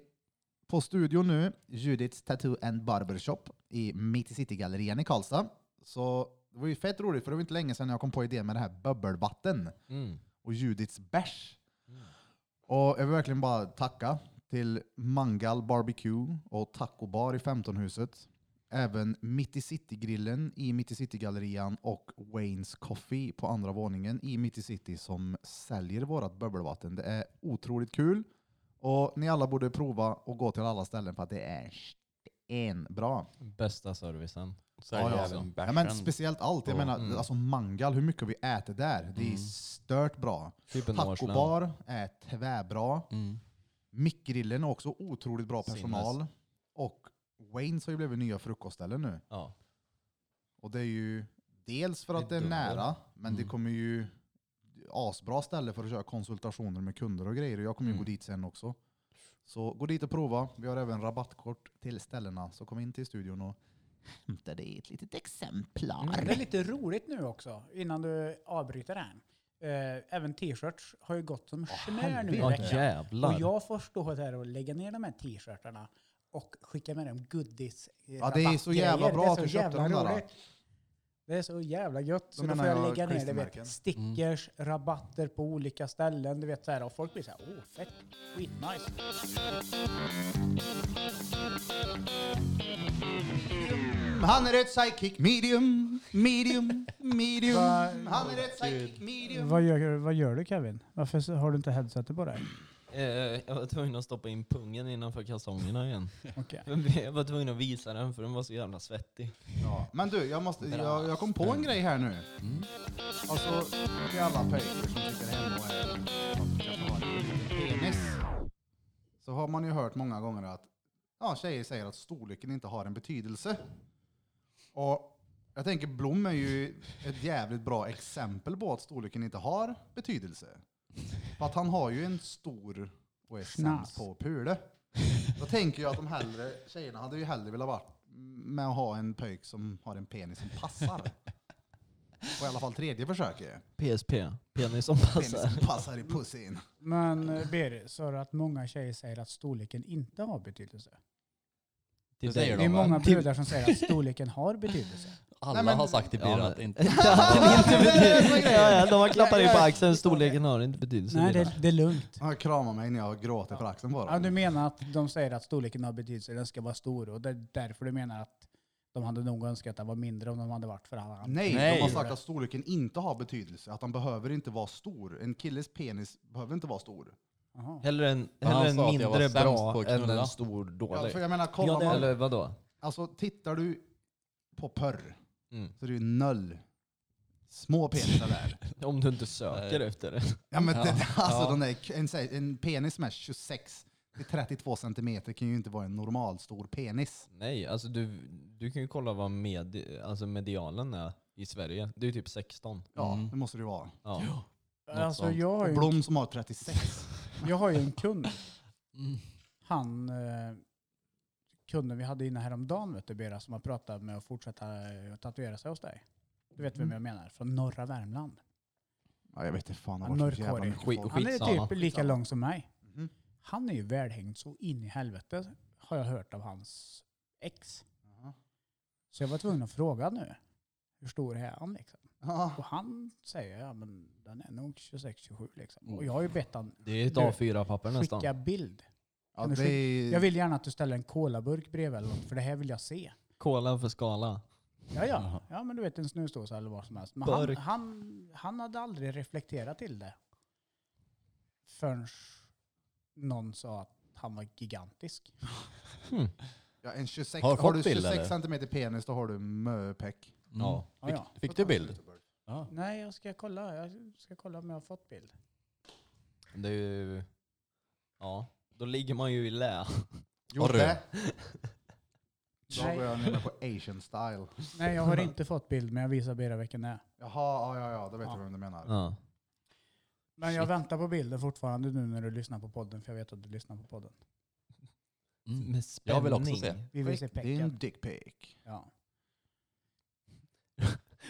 på studion nu, Judiths Tattoo and Barbershop i Mitt i City-gallerian i Karlstad. Så det var ju fett roligt, för det var inte länge sedan jag kom på idén med det här bubbelvatten
Mm.
och Judiths bärs. Och jag vill verkligen bara tacka till Mangal Barbecue och Taco Bar i 15-huset. Även Mitt i City-grillen i Mitt i City-gallerian och Wayne's Coffee på andra våningen i Mitt i City som säljer vårt bubbelvatten. Det är otroligt kul och ni alla borde prova och gå till alla ställen för att det är bra.
Bästa servicen.
Så är det
ja.
även
Ja, men
bärsen.
speciellt allt. Jag
Mm.
menar, alltså Mangal, hur mycket vi äter där. Det är stört bra.
Typ en
Taco
årslön.
bar är tvärbra.
Mm.
Mickgrillen har också otroligt bra personal. Och Waynes har ju blivit nya frukostställen nu.
Ja.
Och det är ju dels för att
Det
det
är
är,
dubbel. Mm.
nära, men det kommer ju asbra ställe för att köra konsultationer med kunder och grejer. Och jag kommer ju
Mm.
gå dit sen också. Så gå dit och prova. Vi har även rabattkort till ställena. Så kom in till studion och hämta dig ett litet exemplar.
Mm.
Det är lite roligt nu också, innan du avbryter den. Eh, även t-shirts har ju gått som smör nu i
helvete.
Ja
veckan.
jävlar.
Och jag får stå där och lägga ner de här t-shirtarna och skicka med dem eh, goodis
Ja, det är så jävla bra att du köpte dem där, då.
Det är så jävla gött. Så
Då
då
menar
får jag
jag
lägga ner du
klistermärken.
vet, stickers, rabatter på olika ställen. Du vet, så här, och folk blir så här, åh fett, skitnice.
Han är ett sidekick medium, medium, medium.
Va-
Han är ett sidekick medium.
Vad gör, vad gör du Kevin? Varför har du inte headsetet på dig?
Eh, jag var tvungen att stoppa in pungen innanför kalsongerna igen.
Okej.
[LAUGHS] jag var tvungen att visa den för den var så jävla svettig.
Ja. Men du, jag, måste, jag, jag kom på en grej här nu.
Mm.
Alltså, till alla pojkar som sitter hemma och är, som kanske har en liten penis. Så har man ju hört många gånger att ja, tjejer säger att storleken inte har en betydelse. Och jag tänker Blom är ju ett jävligt bra exempel på att storleken inte har betydelse. För att han har ju en stor och är
Schnaps.
sämst på pule. Då tänker jag att de hellre, tjejerna hade ju hellre velat vara med att ha en pöjk som har en penis som passar. På i alla fall tredje försöket.
PSP. Penis som
Penis
passar.
som passar i pussin.
Men eh, Berit, sa du att många tjejer säger att storleken inte har betydelse?
Typ
Det säger
Det är
de, va?
många brudar som säger att storleken har betydelse. [LAUGHS]
Alla
men-
har sagt till
[LAUGHS] Ja,
Birra
men-
att det [LAUGHS] inte... [LAUGHS]
ja, ja, de har klappat dig på axeln, storleken har inte betydelse.
Nej,
Birra.
det, det är lugnt.
Han kramar mig när jag gråter för axeln på
Ja, du
dem.
menar att de säger att storleken har betydelse, den ska vara stor och det är därför du menar att de hade nog önskat att den var mindre om de hade varit för alla.
Nej,
Nej.
de har sagt att storleken inte har betydelse. Att han behöver inte vara stor. En killes penis behöver inte vara stor.
Jaha.
Hellre en,
Han
hellre en
sa att jag var
mindre
sämst på
bra
att
än
knulla.
en stor
Ja,
dålig.
för jag menar,
Ja,
kollar
det-
man,
Eller vadå?
alltså tittar du på porr
Mm.
så är det ju noll små penisar där.
Om du inte söker
Nej.
efter det.
[LAUGHS]
[LAUGHS]
Ja, men det, alltså,
Ja.
De där, en, sä- en penis som är 26 till 32 centimeter kan ju inte vara en normal stor penis.
Nej, alltså du, du kan ju kolla vad med, alltså medialen är i Sverige. Det är ju typ 16.
Ja,
Mm.
det måste det ju vara.
Ja.
Alltså,
sånt.
jag, har
Och
ju,
Blom som har 36.
jag har ju en kund,
Mm.
han eh, kunden vi hade inne häromdagen, vet du, Bera, som har pratat med att fortsätta eh, tatuera sig hos dig. Du vet vem jag menar? Från norra Värmland.
Ja, jag vet inte fan,
Ja,
han har varit så jävla
mörkhårig.
mycket
Skit-
folk.
Han är
Skitsamma.
typ lika lång som mig.
Mhm.
Han är ju välhängd så in i helvete, har jag hört av hans ex.
Jaha.
Så jag var tvungen att fråga nu, hur stor är han liksom?
Ja.
Och han säger, ja men den är nog 26-27 liksom.
Mm.
Och jag har ju bett han
Det är ett
Du,
A4-papper nästan.
skicka bild.
Ja,
Kan du
det
skicka-
är-
Jag vill gärna att du ställer en colaburk bredvid eller något, för det här vill jag se.
Kola för skala.
Ja, ja.
Jaha.
ja men du vet en snusdosa eller vad som helst. Men han,
Burk.
han, han hade aldrig reflekterat till det. Förrän någon sa att han var gigantisk.
ja, en 26,
Har
har,
du
du
fått bild,
26
eller?
centimeter penis då har du möpeck.
Ja.
Ja, ja.
Fick du bild?
Nej, jag ska kolla. Jag ska kolla om jag har fått bild.
Det är ju... Ja, då ligger man ju i lä.
Jo,
Orre.
det. Då
Nej.
går jag ner på asian style.
Nej,
[LAUGHS]
jag har inte fått bild, men jag visar Birra vilken det är.
Jaha, ja, ja, ja, då vet
Ja.
jag vem du menar.
Ja.
Men jag väntar på bilden fortfarande nu när du lyssnar på podden, för jag vet att du lyssnar på podden.
Mm.
Med
Jag vill också
spänning.
Vi vill se
Skick Din
pecken.
dick pic.
Ja.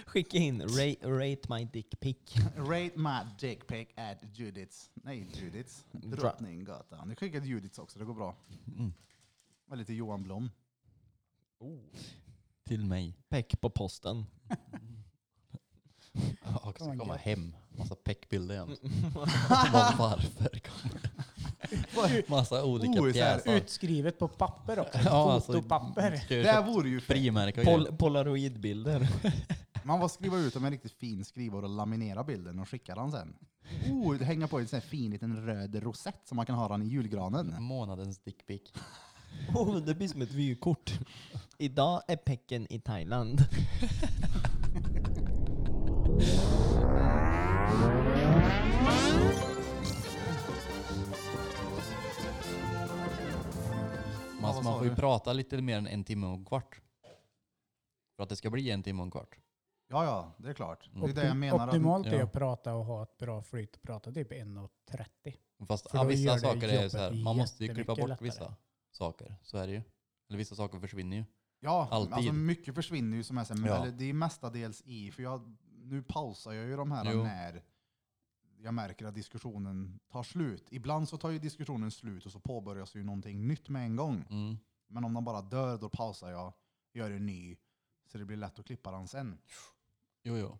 Skicka in rate, rate my dick [LAUGHS] pic.
Rate my dick pic at Judiths. Nej, Judiths. Drottninggatan. Du skickar till Judiths också, det går bra.
Mm.
Eller till Johan Blom.
Till mig.
Peck på posten.
Och
Oh my
ska komma
God.
hem. Massa peckbilder igen. Vad varför
[LAUGHS]
kommer Massa olika
Oh, så här
pjäser.
Utskrivet på papper också.
Ja, alltså-
Fotopapper.
Ska jag
Det här
köpa
vore ju fint.
Frimärke och grejer.
Pol- [LAUGHS] Polaroidbilder.
Man får skriva ut dem med en riktigt fin skrivare och laminera bilden och skicka den
[LAUGHS]
sen. Oh, hänga på en sån här fin liten röd rosett som man kan ha den i julgranen.
Månadens dickpic.
Oh, det blir som ett vykort. Idag är Pecken i Thailand.
Man,
vad sa
man får ju
du?
prata lite mer än en timme och en kvart. För att det ska bli en timme och en kvart.
Ja, ja, det är klart. Det är det jag menar. att-
Optimalt är
ja.
att prata och ha ett bra flyt. Prata typ 1.30.
Fast
För
ja,
då gör
vissa
det
saker är ju så här,
jobbet
man måste ju klippa
jättemycket
bort
lättare.
vissa saker. Så är det ju. Eller vissa saker försvinner ju.
Ja,
Alltid.
alltså mycket försvinner ju som är sen,
Ja.
eller det är mestadels i, för jag, nu pausar jag ju de här
Jo.
när jag märker att diskussionen tar slut. Ibland så tar ju diskussionen slut och så påbörjas ju någonting nytt med en gång.
Mm.
Men om de bara dör, då pausar jag, gör en ny, så det blir lätt att klippa den sen.
Jo, jo.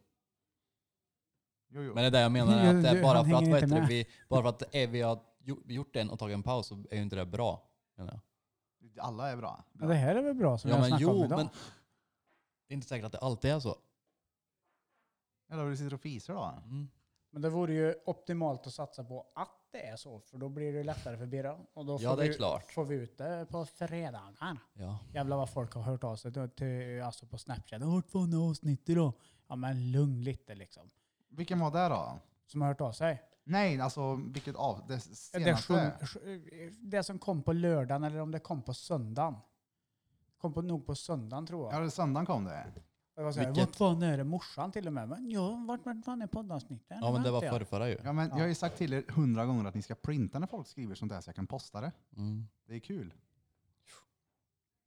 Jo, jo.
Men det är det
[LAUGHS]
jag menar, att det
Jo,
är
jo,
bara
han
för att,
hänger
vad
inte med.
heter det, vi, bara för att det är, vi har gjo- gjort en och tagit en paus så är ju inte det bra. Menar jag.
Alla är bra.
Ja, det här är väl bra som
Ja,
jag
men
snackade om
jo,
idag.
men det är inte säkert att det alltid är så.
Eller du sitter och fiser då?
Mm.
Men det vore ju optimalt att satsa på att det är så, för då blir det lättare för Birra. Och då
Ja,
får
det är
vi,
klart.
får vi ut det på fredagar.
Ja.
Jävlar vad folk har hört av sig då till, alltså på Snapchat. Har hört fan avsnitt idag? Ja men lugn lite liksom.
Vilken var det då?
Som har hört av sig.
Nej, alltså vilket av? Det
Det,
senaste?
sjung, sj- det som kom på lördagen eller om det kom på söndagen. Kom på, nog på söndagen tror jag.
Ja, det- söndagen kom det.
jag var så här,
vilket-
vart fan är det? Morsan till och med. Men, ja, vart, vart fan är poddavsnittet?
ja, men det var
Vänta,
förrförra ju.
Ja, men
Ja.
Jag har ju sagt till er hundra gånger att ni ska printa när folk skriver sånt där så jag kan posta det.
Mm.
Det är kul.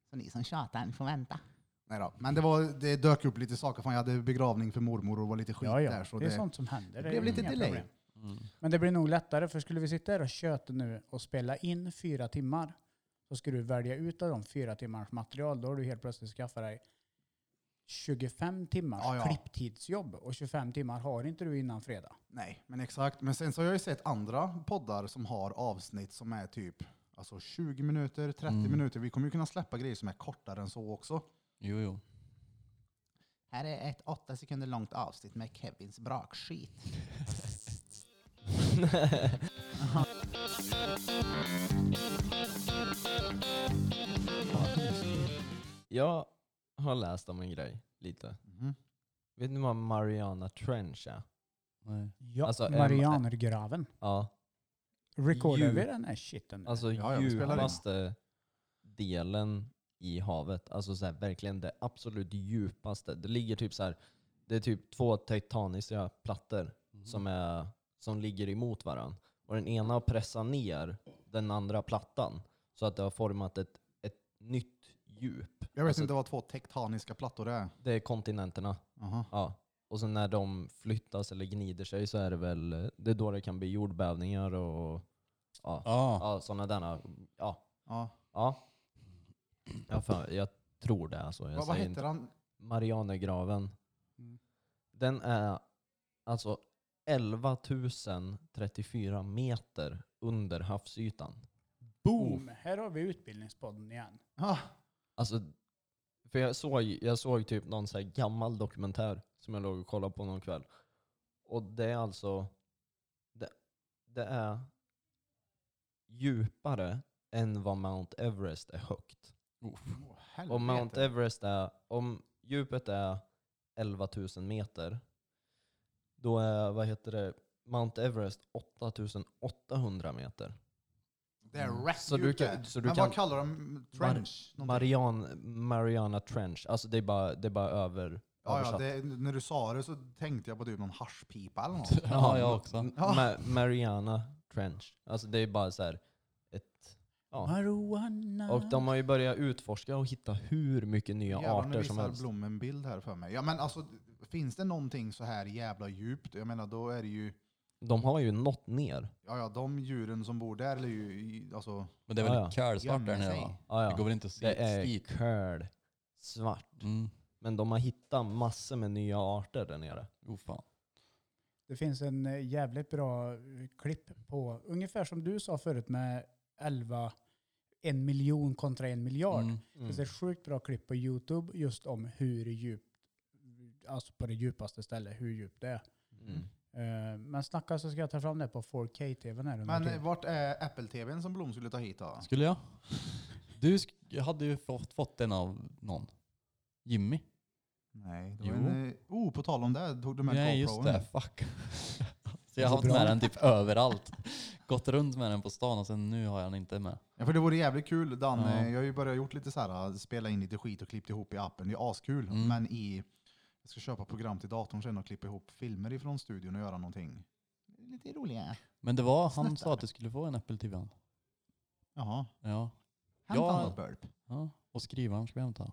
Så ni som tjatar, ni får vänta. Nej då. Men det, var, det dök upp lite saker. Fan, jag hade begravning för mormor och var lite skit
Ja, ja.
där. Så
det är
det,
sånt som händer.
det
är
blev lite
inga
delay.
problem.
Mm.
Men det blir nog lättare, för skulle vi sitta här och köta nu och spela in fyra timmar, så ska du välja ut av de fyra timmars material. Då har du helt plötsligt skaffat dig 25 timmars
Ja, ja.
klipptidsjobb och 25 timmar har inte du innan fredag.
Nej, men exakt. Men sen så har jag ju sett andra poddar som har avsnitt som är typ alltså 20 minuter, 30
Mm.
minuter. Vi kommer ju kunna släppa grejer som är kortare än så också.
Jo, jo.
Här är ett åtta sekunder långt avsnitt med Kevins brakskit.
Jag har läst om en grej lite.
Mm-hmm.
Mhm.
Vet ni vad Mariana Trench är?
Nej.
Ja,
Alltså, em-
Marianergraven.
Ja,
Recordar
Djur.
vi den här shiten? nu?
alltså
Ja, ja, vi spelar in.
djupaste delen i havet. Alltså så här, verkligen det absolut djupaste. Det ligger typ så här, det är typ två tektoniska plattor
Mhm.
som, är, som ligger emot varandra. Och den ena har pressat ner den andra plattan så att det har format ett, ett nytt djup.
Jag vet
Alltså-
inte vad två tektaniska plattor är.
Det är kontinenterna.
Aha.
Ja. Och sen när de flyttas eller gnider sig så är det väl det är då det kan bli jordbävningar och ja, ja.
Ja.
sådana där. Ja.
Ja.
ja. ja för, jag tror det. Alltså. Jag
Vad, vad
säger
heter han?
Marianergraven.
Mm.
Den är alltså 11 034 meter under havsytan. oh.
Boom! Här har vi utbildningspodden igen.
Ah,
Alltså, för jag såg, jag såg typ någon så här gammal dokumentär som jag låg och kollade på någon kväll. Och det är alltså, det, det är djupare än vad Mount Everest är högt.
åh, helvete.
Och Mount Everest är, om djupet är 11 000 meter, då är, vad heter det, Mount Everest 8800 meter.
Det är rätt
Så du
djupt
kan-
det.
så du
Men
kan-
vad kallar de? Trench? någonting?
Marian, Mariana Trench, alltså det är bara, det är bara över,
Ja, ja,
översatt.
det, när du sa det så tänkte jag på typ någon haschpipa
[LAUGHS]
eller något.
[LAUGHS] Ja, jag också.
Ja.
Ma- Mariana Trench. Alltså det är bara så här ett... Ja.
Marijuana.
Och de har ju börjat utforska och hitta hur mycket nya
Jävlar, nu
arter som
visar
helst.
Blom en bild här för mig. Ja, men alltså, finns det någonting så här jävla djupt? Jag menar, då är det ju...
De har ju nått ner.
Ja, ja, de djuren som bor där är ju... i- Alltså,
Men det är väl
Ja, ja.
kölsvart
Gömmer
där nere
sig.
va?
Ja, ja.
Det går väl inte att se
Det
ett
är
skit?
curd, svart.
Mm.
Men de har hittat massor med nya arter där nere.
Oh, fan.
Det finns en eh, jävligt bra eh, klipp på, ungefär som du sa förut med 11, en miljon kontra en miljard.
Mm.
Det finns ett sjukt bra klipp på Youtube just om hur djupt, alltså på det djupaste stället, hur djupt det är.
Mm.
Eh, Men snacka så ska jag ta fram det på 4K-tvn här under
men eh,
tiden.
vart är Apple-tvn som Blom skulle ta hit då?
Skulle jag? [LAUGHS] Du sk- hade ju fått, fått den av någon. Jimmy.
Nej, det var
Jo.
en, eh, oh, på tal om det, tog du med
Nej just
GoProen?
det, fuck. Så jag har haft
bra.
med den typ överallt. Gått runt med den på stan och sen nu har jag den inte med.
Ja, för det vore jävligt kul. Dan,
Ja.
eh, jag har ju börjat gjort lite så här, eh, spela in lite skit och klippt ihop i appen. Det är askul.
Mm.
Men i, jag ska köpa program till datorn sen och klippa ihop filmer ifrån studion och göra någonting. Lite roliga.
Men det var, han
Snuttar.
sa att du skulle få en Apple TV. -an.
Jaha.
Ja.
Hämta
Ja.
ja. burp.
ja. Och skrivaren ska vi hämta.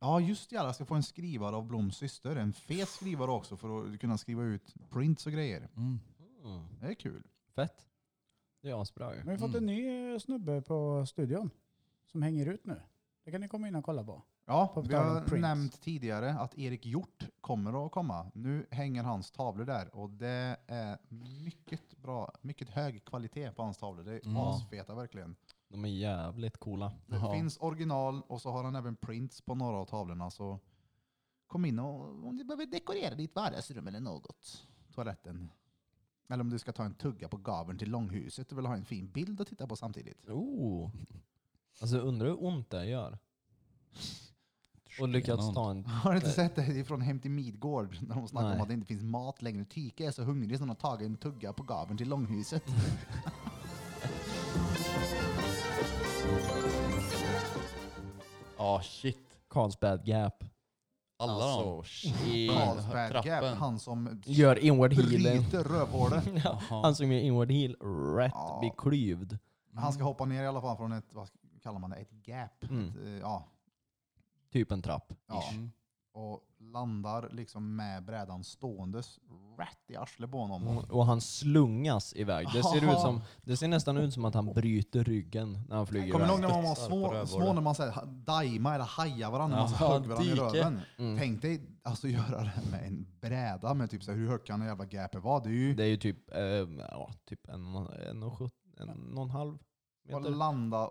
Ja, just det. Jag ska få en skrivare av Bloms syster. En fet skrivare också för att kunna skriva ut prints och grejer.
Mm.
Mm.
Det är kul.
Fett. Det är asbra ju.
Men vi har fått en
Mm.
ny eh, snubbe på studion som hänger ut nu. Det kan ni komma in och kolla på.
Ja,
På
vi
tal om
har
prints.
nämnt tidigare att Erik Hjort kommer att komma. Nu hänger hans tavlor där och det är mycket bra, mycket hög kvalitet på hans tavlor. Det är
Mm.
asfeta verkligen.
De är jävligt coola.
Det
Ja.
finns original och så har han även prints på några av tavlorna. Så kom in och om du behöver dekorera ditt vardagsrum eller något. Toaletten. Eller om du ska ta en tugga på gaveln till långhuset och vill ha en fin bild att titta på samtidigt. [LAUGHS]
Oh. Alltså undrar hur ont det gör. Och lyckats ta en...
Har du inte sett det? Det är från Hem till Midgård när de snackar
Nej.
om att det inte finns mat längre. Tyke är så hungrig så de har tagit en tugga på gaveln till långhuset.
Ja Ah, shit.
Carlsbad [LAUGHS] Gap.
Alla de.
alltså, shit.
Carlsbad Gap,
trappen.
han som
Gör inward healing.
bryter rövhålet.
[LAUGHS] Ja,
Jaha.
han som gör inward heel rätt
Ja.
beklyvd.
Han ska hoppa ner i alla fall från ett, vad kallar man det, ett gap.
Mm.
Ett, eh, ja,
Typ en trapp.
ja.
Mm.
Och landar liksom med brädan ståendes rätt i arslet på honom.
Och han slungas iväg. Det ser, ut
Ja.
som, det ser nästan ut som att han bryter ryggen när han flyger
Kommer ni
iväg.
ihåg när man var
Studsar på
små,
rövhålet.
små när man såhär, daima eller haja varandra, man så
Ja,
högg varandra i
dike.
röven?
Mm.
Tänk dig alltså [LAUGHS] göra det här med en bräda med typ såhär, hur högt kan en jävla gapet vara? Det är ju
Det är ju typ, eh, ja, typ en, en, och sjut, en, och en halv
att
meter.
landa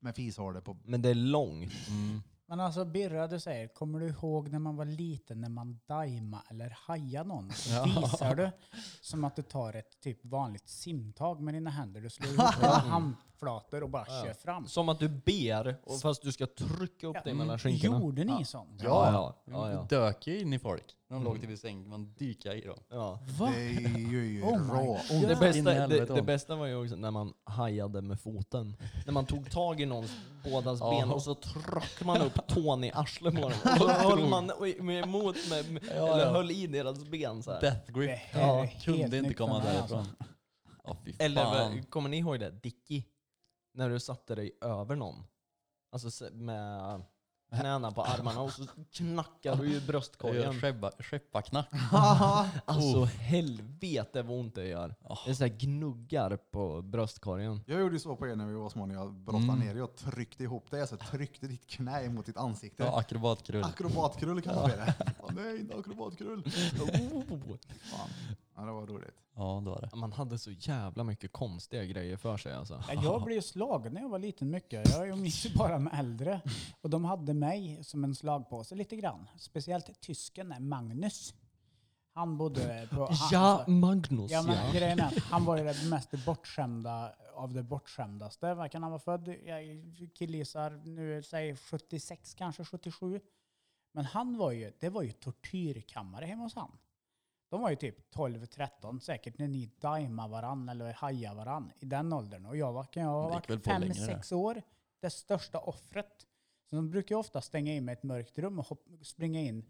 med fishålet på...
Men det är långt.
Mm.
Men alltså Birra, du säger, kommer du ihåg när man var liten när man daima eller haja någon? Så visar du som att du tar ett typ vanligt simtag med dina händer. Du slår ihop dina handflator och bara kör fram.
Som att du ber, och fast du ska trycka upp dig mellan skinkorna.
Gjorde ni sånt?
Ja, ja, ja, Mm.
Ja. Mm.
ja.
Dök ju in i folk. När de låg till vid säng. Man dyka i dem.
ja.
Va?
Det är ju
[LAUGHS] Oh my
[LAUGHS] rå.
Det, bästa, det,
helvete.
det bästa var ju också när man hajade med foten. När man tog tag i någons bådas
Ja.
ben och så tryckte man upp tån i arslet
[LAUGHS]
på dem. Och så höll man i- med emot med, med,
Ja,
eller
ja.
höll i deras ben så här.
Death
Det
grip.
här är
Ja,
helt
kunde inte
nytt för
komma
mig,
därifrån.
alltså.
Ja, fy
Eller
fan.
vad- kommer ni ihåg det? Dicky? När du satte dig över någon. Alltså se- med knäna på armarna och så knackar du i
Jag gör
bröstkorgen.
skeppa- Skepparknack.
Alltså helvete vad ont det gör. Det är så här gnuggar på bröstkorgen.
Jag gjorde ju så på er när vi var små, när jag brottade ner Jag tryckte ihop dig, alltså tryckte ditt knä emot ditt ansikte.
Ja, akrobatkrull.
Akrobatkrull kan man kalla det. Åh, Nej, inte akrobatkrull. Fan. Ja, det var roligt.
Ja, det var det.
Man hade så jävla mycket konstiga grejer för sig alltså.
Ja, Jag blev ju slagen när jag var liten mycket. Jag umgicks ju [LAUGHS] bara med äldre. Och de hade mig som en slagpåse lite grann. Speciellt tysken, Magnus. Han bodde på... Han,
Ja, Magnus
Ja,
ja.
men grejen är att han var ju det mest bortskämda av det bortskämdaste. Vad kan han vara född? Jag killgissar nu, säg 76 kanske, 77. Men han var ju, det var ju tortyrkammare hemma hos han. De var ju typ 12-13 säkert när ni daimade varann eller hajade varann i den åldern. Och jag var, kan jag ha
Det gick väl
varit
på längre.
5-6 år, det största offret. Så de brukar ju ofta stänga in mig i ett mörkt rum och hopp, springa in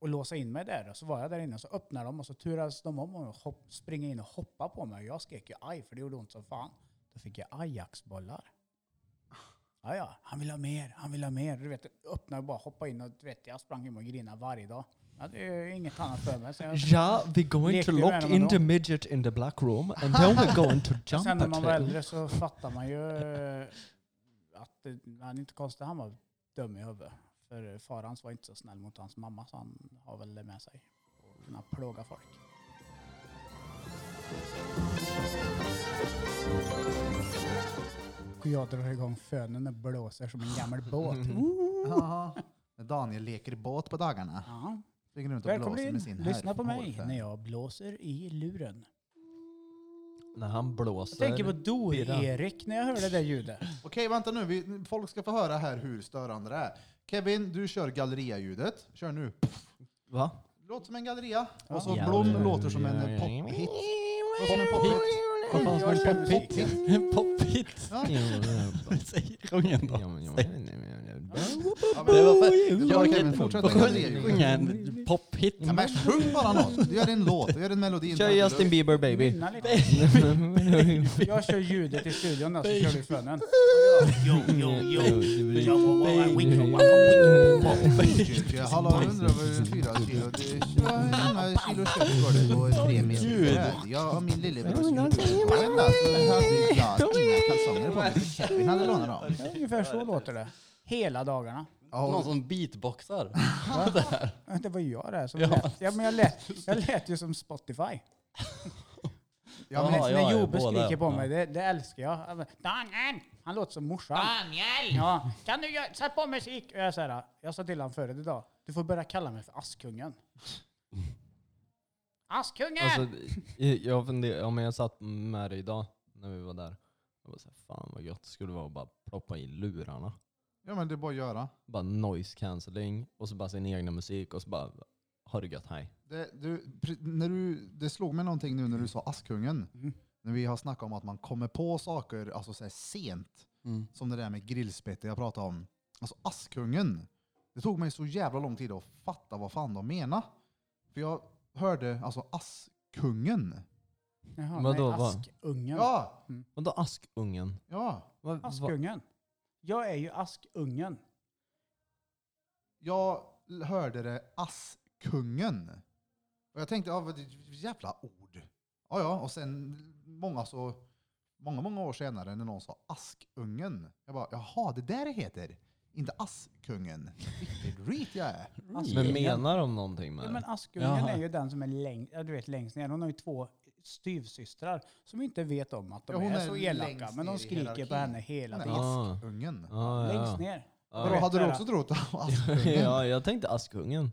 och låsa in mig där. Och så var jag där inne och så öppnade de och så turades de om och hopp, springa in och hoppa på mig. Och jag skrek ju aj för det gjorde ont som fan. Då fick jag Ajax-bollar. Ja, ja, han vill ha mer, han vill ha mer. Du vet, öppna och bara hoppa in och du vet, jag sprang in och grinade varje dag. Jag hade ju inget annat för mig. Så jag,
Yeah, we're going to
Lekte med
lock
honom
in
då.
the midget in the black room and then we're going to jump
sen när
at
man var
him.
äldre så fattar man ju eh, att det, han är inte konstigt han var dum i huvudet. För far hans var inte så snäll mot hans mamma så han har väl det med sig. Att kunna plåga folk. Och jag drar igång fönen och blåser som en gammal båt.
Aha. När Daniel leker båt på dagarna.
Ja.
Springer runt och
Välkommen
blåser
in,
med sin
lyssna på mig
herrhålfärg.
när jag blåser i luren.
När han
Jag
blåser.
tänker på Do-Erik när jag hör det där ljudet.
Okej, vänta nu. Vi, folk ska få höra här hur störande det är. Kevin, du kör galleria-ljudet. Kör nu.
Va?
Låter som en galleria. Och så
Ja.
Blom
Ja.
låter som en
Ja.
pophit. Låter som en pophit.
Vad fan ska en pophit? En pophit?
Ja.
Säg kungen då.
Ja,
Det
men-
var för...
Ja, Kevin, fortsätt med galleria-ljudet.
Sjunga en pophit.
Ja, men sjung bara något. Du gör en låt, du gör en melodi.
Kör Justin Bieber baby.
Nynna lite. [LAUGHS] Jag kör ljudet i studion då, så kör du fönen.
Bieber. Hallå, jag undrar vad det är fyra kilo. Det är tjugo- hur många kilo kött går det på tre meter träd? Jag och min lillebror skulle ut på skogen där, så vi hade idag inga kalsonger på mig. för Kevin hade lånat dem.
Ja, Ungefär så låter det. Hela dagarna.
Någon
Ja,
som beatboxar.
Det var ju jag det som
Ja.
lät. Ja, men jag, lät, jag lät ju som Spotify.
ja,
Men
men,
ja,
när
ja,
Jobbe
båda.
skriker på
Ja.
mig, det, det älskar jag. Han bara, Daniel! Han låter som morsan.
Daniel!
Ja, kan du göra- sätt på musik? Och Jag, så här, jag sa till honom förut idag, du får börja kalla mig för Askungen. Askungen!
Alltså, i- jag, funderar, ja, men jag satt med dig idag när vi var där. Jag bara så här, fan vad gött det skulle vara att bara ploppa i lurarna.
ja, men det är bara att göra.
Bara noise cancelling och så bara sin egna musik och så bara har det gött, hej.
Det, du, pre- när du, det slog mig någonting nu när du sa Askungen.
Mm.
När vi har snackat om att man kommer på saker alltså så här sent.
Mm.
Som det där med grillspettet jag pratade om. Alltså Askungen. Det tog mig så jävla lång tid att fatta vad fan de menar. För jag hörde alltså Askungen.
Jaha,
vadå,
nej,
vad?
Askungen.
Ja,
Vadå askungen?
ja.
Vad- vad-
Askungen. Jag är ju Askungen.
Jag l- hörde det Askungen. Och jag tänkte, ja, vad det är jävla ord. Ja, ja, och sen många så många, många år senare när någon sa Askungen. Jag bara, jaha, det där det heter. Inte Askungen. Vilket reet jag är.
Men
Askungen.
menar de någonting med
Ja,
det?
men Askungen
Jaha.
är ju den som är längst, ja, du vet, längst ner. Hon har ju två styvsystrar som inte vet om att de
Ja, hon
är,
är
så
längst
elaka. Men
ner i
de skriker på
hierarkin.
henne hela
Nej,
tiden.
Ah.
Askungen.
Ah, ja,
Längst
ja.
ner.
Ja.
Vadå, hade du
Vet
också
jag.
trott
[LAUGHS]
att Askungen?
[LAUGHS] ja, jag tänkte
[LAUGHS]
askungen.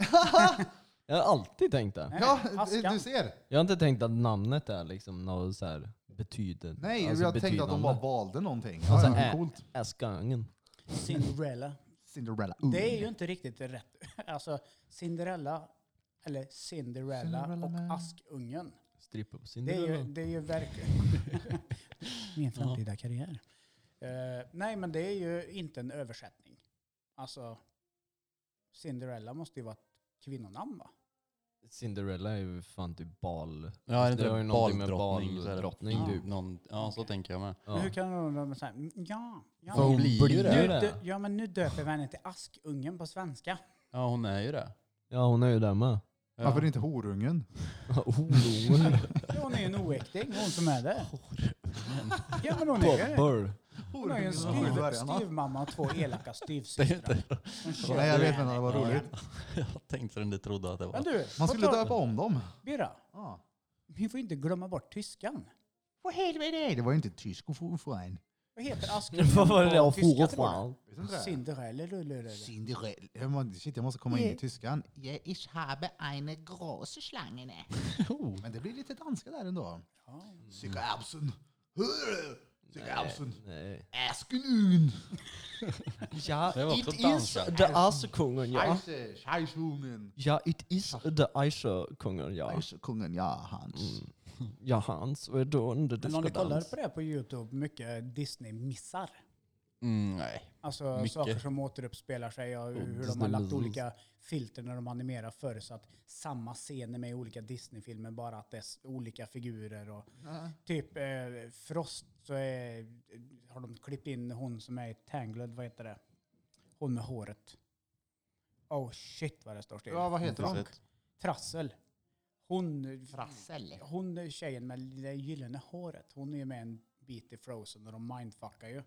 jag har alltid tänkt det.
Nej,
Ja,
nej,
du-
askan.
du ser.
Jag har inte tänkt att namnet är liksom något så här alltså betydande.
Nej, jag tänkte att de bara valde någonting. Ja,
Alltså,
ja,
ä-
coolt.
Askungen.
Cinderella.
Cinderella.
Det är ju inte riktigt rätt. Alltså Cinderella, eller Cinderella,
Cinderella
och
Man.
Askungen.
Strippa på
Det är ju,
Mm.
Cinderella.
det är ju
[LAUGHS]
verkligen min framtida karriär. Eh, nej, men det är ju inte en översättning. Alltså, Cinderella måste ju vara ett kvinnonamn va?
Cinderella är ju fan typ bal...
Ja, är det
har ju
inte
någonting med
baldrottning? så är det
baldrottning,
någon-
typ.
någon- Ja, så tänker jag med.
Men
Ja.
hur kan hon vara så här, "Mm, ja, ja.
För hon blir ju
Nu
det.
det.
dö- ja, men nu döper vi henne till Askungen på svenska.
Ja, hon är ju det.
ja, hon är ju där med.
Varför inte horungen?
Horungen.
Ja, Hon är ju en oäkting, hon som är det. Ja, men hon är ju det.
Bobbar.
Hon har ju en
Horungen i
styv,
början, va?
styvmamma och
[LAUGHS]
två elaka styvsystrar. Som kör
Nej, jag vet
henne.
men det var roligt.
Jag tänkte att du trodde att det
Men
var...
du, på
Man skulle
tal-
döpa om dem. Ah.
Birra,
Ja.
vi får inte glömma bort tyskan.
Vad helvete är det? Det var ju inte tysk och fortfarande.
Vad heter Askungen
[LAUGHS] Vad var det där
på
för
tyska? tror
fan?
Vet du inte
du?
det?
Cinderella, lullulle.
Cinderella. Jag må- Shit, jag måste komma in i tyskan.
Ja, ich habe eine große Schlange.
Men det blir lite danska där ändå.
Ja.
Sika Absen.
alltså-
Absent.
nej.
Askenun!
Ja,
Det var
it
på
is
danska.
the Asekungen, ja.
Scheisse, Scheissungen.
Ja, it is the Asekungen, ja.
Scheissekungen, ja Hans.
Mm.
Ja, hans. Och då under
Men om ni kollar
diskodans.
på det på YouTube, mycket Disney-missar.
Mm, nej.
Alltså
Mycket.
saker som återuppspelar sig och hur de har lagt olika filter när de animerar förr så att samma scener med i olika Disney-filmer bara att det är s- olika figurer och typ eh, Frost så är, har de klippt in hon som är i Tangled, vad heter det? Hon med håret. Oh shit vad det står still.
Ja, vad heter de?
Trassel. Hon,
Frassel.
hon tjejen med det gyllene håret, hon är ju med en bit i Frozen och de mindfuckar ju.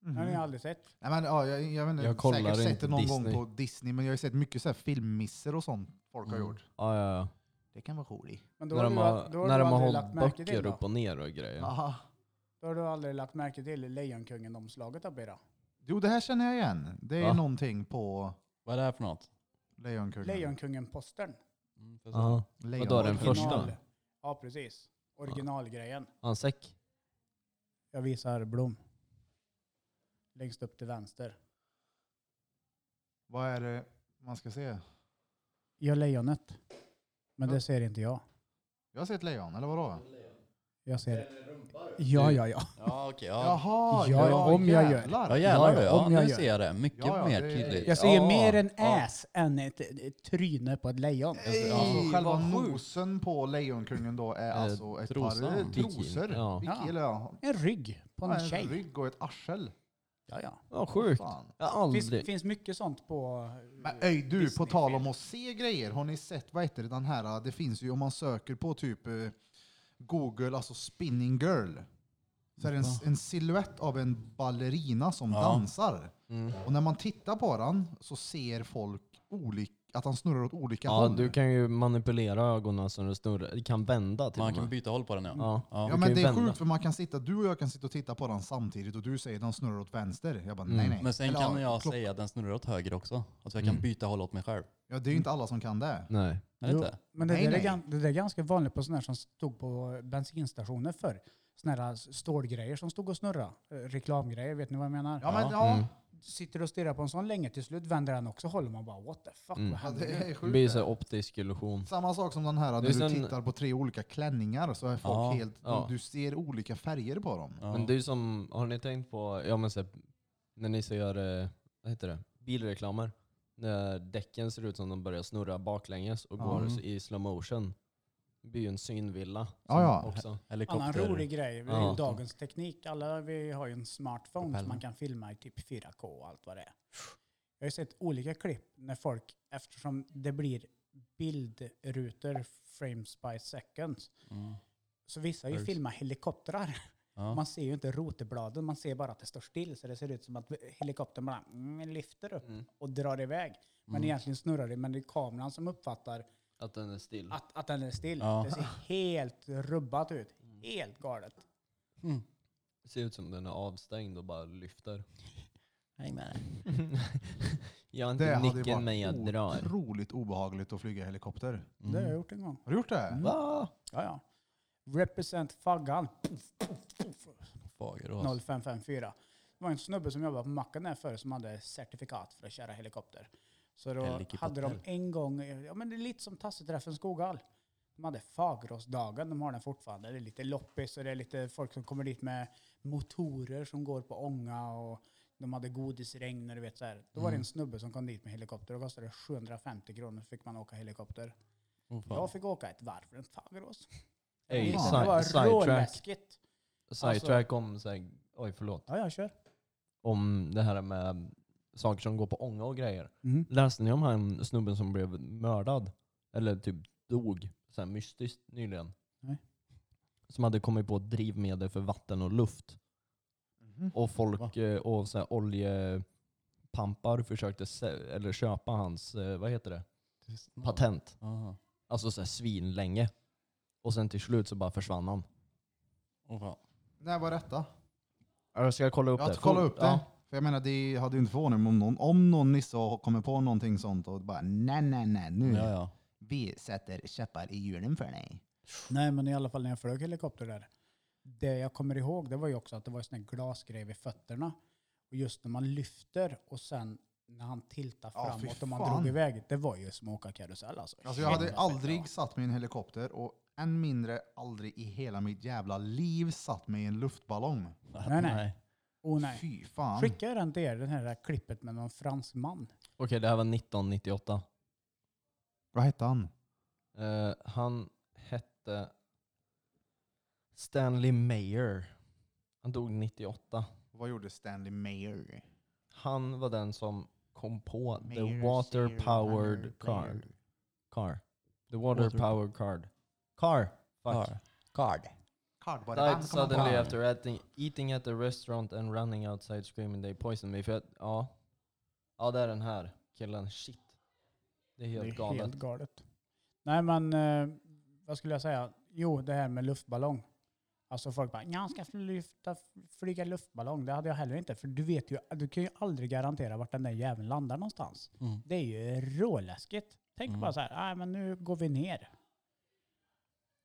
Den
Mm.
har jag aldrig sett.
Mhm. Nej, men, ja, jag, jag, vet inte,
Jag kollar
säkert sett
inte
det någon
Disney.
gång på Disney, men jag har ju sett mycket så här filmmisser och sånt folk har gjort.
Ja, ja, ja.
Det kan vara roligt.
Men
När de
du-
har,
då
när
du
de har
aldrig
hållit
märke till
böcker
då?
upp och ner och grejer.
Aha.
Då har du aldrig lagt märke till Lejonkungen-omslaget Abira?
Jo, det här känner jag igen. Det är
Va?
någonting på
Vad är det här för något?
Lejonkungen.
Lejonkungen-postern.
Mm, får jag se.
Ja.
Lejon.
Mm. Vadå, den
Original.
första?
Ja, precis. Originalgrejen.
Har han säck?
Jag visar Blom. Längst upp till vänster.
Vad är det man ska se?
Ja, lejonet. Men det ser inte jag.
Jag har sett lejon, eller vadå?
Jag ser... Ja, ja, ja.
Ja, okej. Ja.
Jaha,
Ja, om jag gör-
Ja,
jävlar.
jävlar
Ja,
ja.
ja, om
nu
jag gör.
ser jag det. Mycket
Ja, ja,
mer
det-
tydligt.
Jag ser ju
Ja,
mer en
ja.
ass än ett, ett tryne på ett lejon.
Alltså, ja.
Alltså, själva
vad sjukt.
nosen på Lejonkungen då är
Eh,
alltså ett
trosan.
par eh, trosor.
Bikini, ja.
Bikini, eller ja.
En rygg på en
Ja, En
tjej.
rygg och ett arsel.
Ja, ja.
Ja, sjukt.
Fan.
Jag har
Finns,
aldrig...
finns mycket sånt på...
Men öj du, på
Disney-film.
tal om att se grejer. Har ni sett, vad heter det, den här, eh, det finns ju om man söker på typ eh, Google, alltså spinning girl. Så är det en, en silhuett av en ballerina som dansar.
Mm.
Och när man tittar på den så ser folk olika, att han snurrar åt olika
Ja,
håll.
du kan ju manipulera ögonen så den snurrar. Du kan vända till
Man
och
kan
med.
byta håll på den ja.
Ja.
Ja.
ja men
du kan
det
ju
är
vända.
sjukt för man kan sitta, du och jag kan sitta och titta på den samtidigt och du säger den snurrar åt vänster. Jag bara
Mm.
nej nej.
Men sen
Eller,
kan
ja,
jag
klock-
säga att den snurrar åt höger också. Att jag
Mm.
kan byta håll åt mig själv.
Ja det är ju inte alla som kan det.
Nej.
Är det inte?
Men det,
Nej,
där
nej.
Är, gan- det där är ganska vanligt på sådana här som stod på bensinstationer förr. Sådana här stålgrejer som stod och snurrade. Eh, Reklamgrejer, vet ni vad jag menar?
Ja men
Mm.
ja.
Sitter och stirrar på en sån länge, till slut vänder den också håller man bara what the fuck,
Mm.
vad
ja
händer
det
nu?
är
Det
sjukt.
blir ju så här optisk illusion.
Samma sak som den här, när
Det är
du
sen-
tittar på tre olika klänningar så är folk
Ja,
helt...
ja.
Du ser olika färger på dem.
Ja.
Men det är ju som, har ni tänkt på, ja men så här, när ni så gör, eh, vad heter det, bilreklamer? När däcken ser ut som de börjar snurra baklänges och
Ja. Mm.
går så i slow motion. Det blir ju en synvilla
Ja, ja.
[LAUGHS]
också.
Annan
Helikopter.
rolig grej, det är ju
Ja.
dagens teknik. Alla vi har ju en smartphone som
Propellen.
man kan filma i typ 4K och allt vad det är. Jag har ju sett olika klipp när folk, eftersom det blir bildrutor, frames by seconds,
Mm.
så vissa har ju
Frames.
filmat helikoptrar.
Ja.
Man ser ju inte rotorbladen, man ser bara att det står still. Så det ser ut som att helikoptern bara mm, lyfter upp och drar iväg. Men egentligen snurrar det, men det är kameran som uppfattar
Att den är still.
att, att den är still.
Ja.
Det ser helt rubbat ut. Helt galet.
Det ser ut som den är avstängd och bara lyfter.
Häng med dig.
Jag har
Det
inte
hade ju
nicken men jag
varit
drar.
otroligt obehagligt att flyga helikopter.
Det har jag gjort en gång.
Har du gjort det?
Va?
Ja, ja. Represent Faggan. Puff, puff, puff.
Fagerås.
0554. Det var en snubbe som jobbade på macken där förr som hade certifikat för att köra helikopter. Så då
Helikopter.
hade de en gång, ja men det är lite som Tasseträffen Skoghall. De hade Fageråsdagen, de har den fortfarande. Det är lite loppis och det är lite folk som kommer dit med motorer som går på ånga och de hade godisregn och du vet så här. Då var
Mm.
det en snubbe som kom dit med helikopter och kostade 750 kronor fick man åka helikopter.
Oh, fan.
Jag fick åka ett varv runt Fagerås.
Ey,
det
Fan.
si-
var
sidetrack.
råläskigt.
Sidetrack om, så här, oj förlåt.
Ja, jag kör.
om det här med saker som går på ånga och grejer.
Mm.
Läste ni om han snubben som blev mördad? Eller typ dog så här mystiskt nyligen?
Nej.
Som hade kommit på drivmedel för vatten och luft.
Mm.
Och folk eh, och så här oljepampar försökte sä- eller köpa hans, eh, vad heter det, patent.
Aha.
Alltså så här svinlänge. Och sen till slut så bara försvann han.
Oh, fan.
När var detta?
Jag ska kolla upp
Jag har
det.
inte kollat
Får-
upp det. För jag menar, det hade ju inte förvånat mig om någon, om någon nisse har kommit på någonting sånt och bara nej, nej, nej, nu.
Ja, ja.
Vi sätter käppar i hjulen för dig.
Nej, men i alla fall när jag flög helikopter där. det jag kommer ihåg det var ju också att det var en sån här glasgrej vid fötterna. Och just när man lyfter och sen när han tiltade
Ja,
framåt
fy
och man
fan.
drog iväg, det var ju som att åka karusell alltså.
Alltså jag hade
Jävla fett,
aldrig
va?
satt mig i en helikopter och än mindre aldrig i hela mitt jävla liv satt mig i en luftballong.
Nej, nej. Oh, nej.
Fy fan.
Skickar jag den till er, det här klippet med någon fransk man?
Okej, det här var 1998.
Vad hette han?
Eh, han hette Stanley Mayer. Han dog 98.
Vad gjorde Stanley Mayer?
Han var den som kom på
Mayer,
the water
Mayer,
powered car.
Mayer.
car. The water,
Water-
powered card. Car. Fuck.
Car.
Card.
Card, var det han?
Died
Kom han på
suddenly
han?
after eating, eating at the restaurant and running outside screaming they poisoned me. För att, ja. ja, det är den här killen. Shit. Det är
Det är
helt galet.
Helt galet. Nej men, eh, vad skulle jag säga? Jo, det här med luftballong. Alltså folk bara, jag ska lyfta, flyga luftballong. Det hade jag heller inte. För du vet ju, du kan ju aldrig garantera vart den där jäveln landar någonstans.
Mm.
Det är ju råläskigt. Tänk
Mm.
bara så här, nej men nu går vi ner.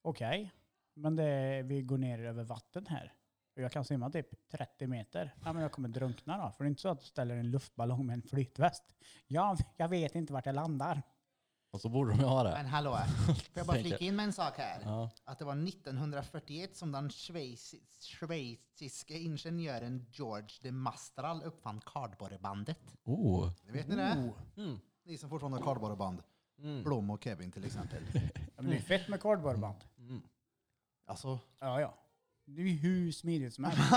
Okej, men det, vi går ner över vatten här. Och jag kan simma typ 30 meter. Ja, men jag kommer drunkna då. För det är inte så att du ställer en luftballong med en flytväst. Ja, jag vet inte vart jag landar.
Och så borde de ju ha det.
Men hallå, får jag bara
Tänker.
flika in med en sak här?
Ja.
Att det var 1941 som den schweiz- schweiziske ingenjören George de Mastral uppfann kardborrebandet.
Oh.
Vet ni det?
Mm.
Ni som fortfarande har kardborreband.
Mm.
Blom och Kevin till exempel.
Ja, men det är fett med kardborreband.
Mm.
[LAUGHS]
Alltså,
Ja, ja. Det är ju hur smidigt som helst.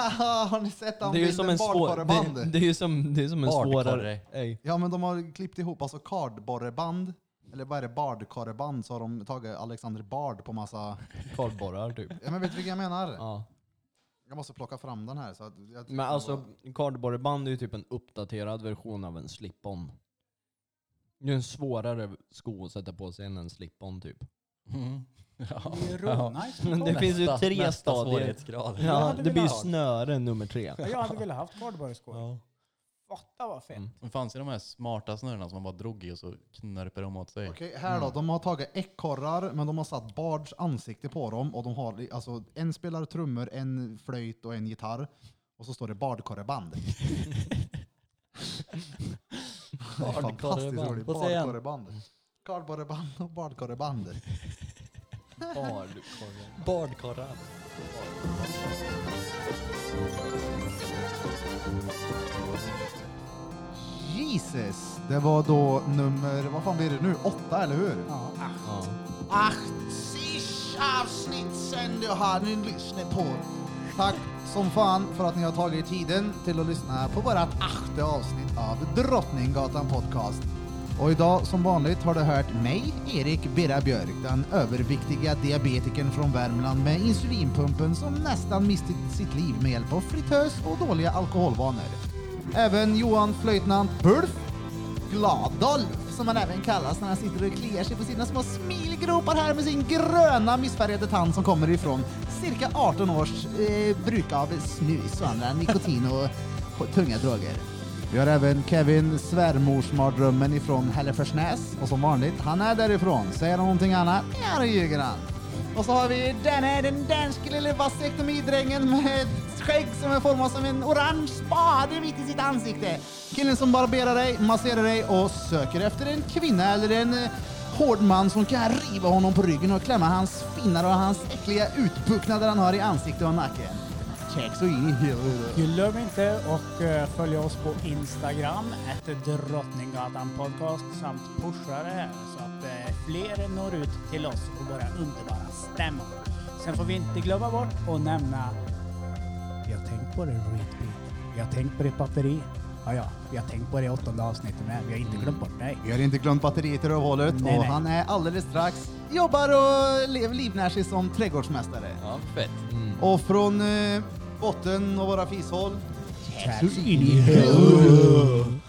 har ni sett den
Det är ju
bilden?
som en svår...
Kardborreband?
Det, det är ju som, det är som en
Hardcore.
svårare... Ej.
Ja, men de har klippt ihop alltså kardborreband, eller vad är det, bardkorreband, så har de tagit Alexander Bard på massa...
Kardborrar typ.
Ja, men vet du vilka jag menar?
Ja.
Jag måste plocka fram den här. Så att jag
Men alltså, kardborreband är ju typ en uppdaterad version av en slip-on. Det är en svårare sko att sätta på sig än en slip-on typ.
Mm. [LAUGHS] Ja.
Det är rånice.
Men det finns ju
Nästa-
tre
nästa
stadier.
svårighetsgrad.
Jag
Ja,
hade
det blir ju
velat ha.
snöre nummer tre.
Ja, Jag hade velat haft kardborreskor.
Ja.
Fatta vad fett. [LAUGHS]
Mm.
Det fanns ju de här smarta snörena som man bara drog i och så knörper de åt sig.
Okej, här då. De har tagit ekorrar, men de har satt Bards ansikte på dem. Och de har li- alltså, en spelar trummor, en flöjt och en gitarr. Och så står det Bardkorreband. Det är Fantastiskt
Bardkorreband.
roligt.
Vad säger han?
Bardkorreband. Kardborreband och Bardkorreband.
Kardborreband.
Bardkorrar.
Jesus! Det var då nummer, vad fan blir det nu? Åtta, eller hur?
Ja, ah,
Ja.
80 avsnitt sen du har ni lyssnat på. Tack som fan för att ni har tagit er tiden till att lyssna på vårat åttonde avsnitt av Drottninggatan Podcast. Och idag som vanligt har du hört mig, Erik Birra Björk, den överviktiga diabetikern från Värmland med insulinpumpen som nästan miste sitt liv med hjälp av fritös och dåliga alkoholvanor. Även Johan Flöjtnant Bulf Gladolf, som han även kallas när han sitter och kliar sig på sina små smilgropar här med sin gröna missfärgade tand som kommer ifrån cirka 18 års eh, bruk av snus och andra nikotin och [LAUGHS] och tunga droger. Vi har även Kevin, svärmorsmardrömmen ifrån Hälleforsnäs. Och som vanligt, han är därifrån. Säger han någonting annat, ja då ljuger han. Och så har vi denne, den danske lille vasektomidrängen med ett skägg som är format som en orange spade mitt i sitt ansikte. Killen som barberar dig, masserar dig och söker efter en kvinna eller en eh, hård man som kan riva honom på ryggen och klämma hans finnar och hans äckliga utbucknader han har i ansikte och nacken. Check så in i huvudet.
glöm inte och eh, följ oss på Instagram, ett Drottninggatan podcast samt pusha det här så att eh, fler når ut till oss och våra underbara stämmor. Sen får vi inte glömma bort att nämna Jag har tänkt på det Reedbeat. Jag har tänkt på det batteri. Ja, ja, vi har tänkt på det i åttonde avsnittet med. Vi har inte glömt bort dig.
Vi har inte glömt batteriet i rövhålet
Nej,
och
nej.
han är alldeles strax jobbar och lev- livnär sig som trädgårdsmästare.
Ja, fett.
Och från eh, botten av våra fishål
Tack så in i helvete.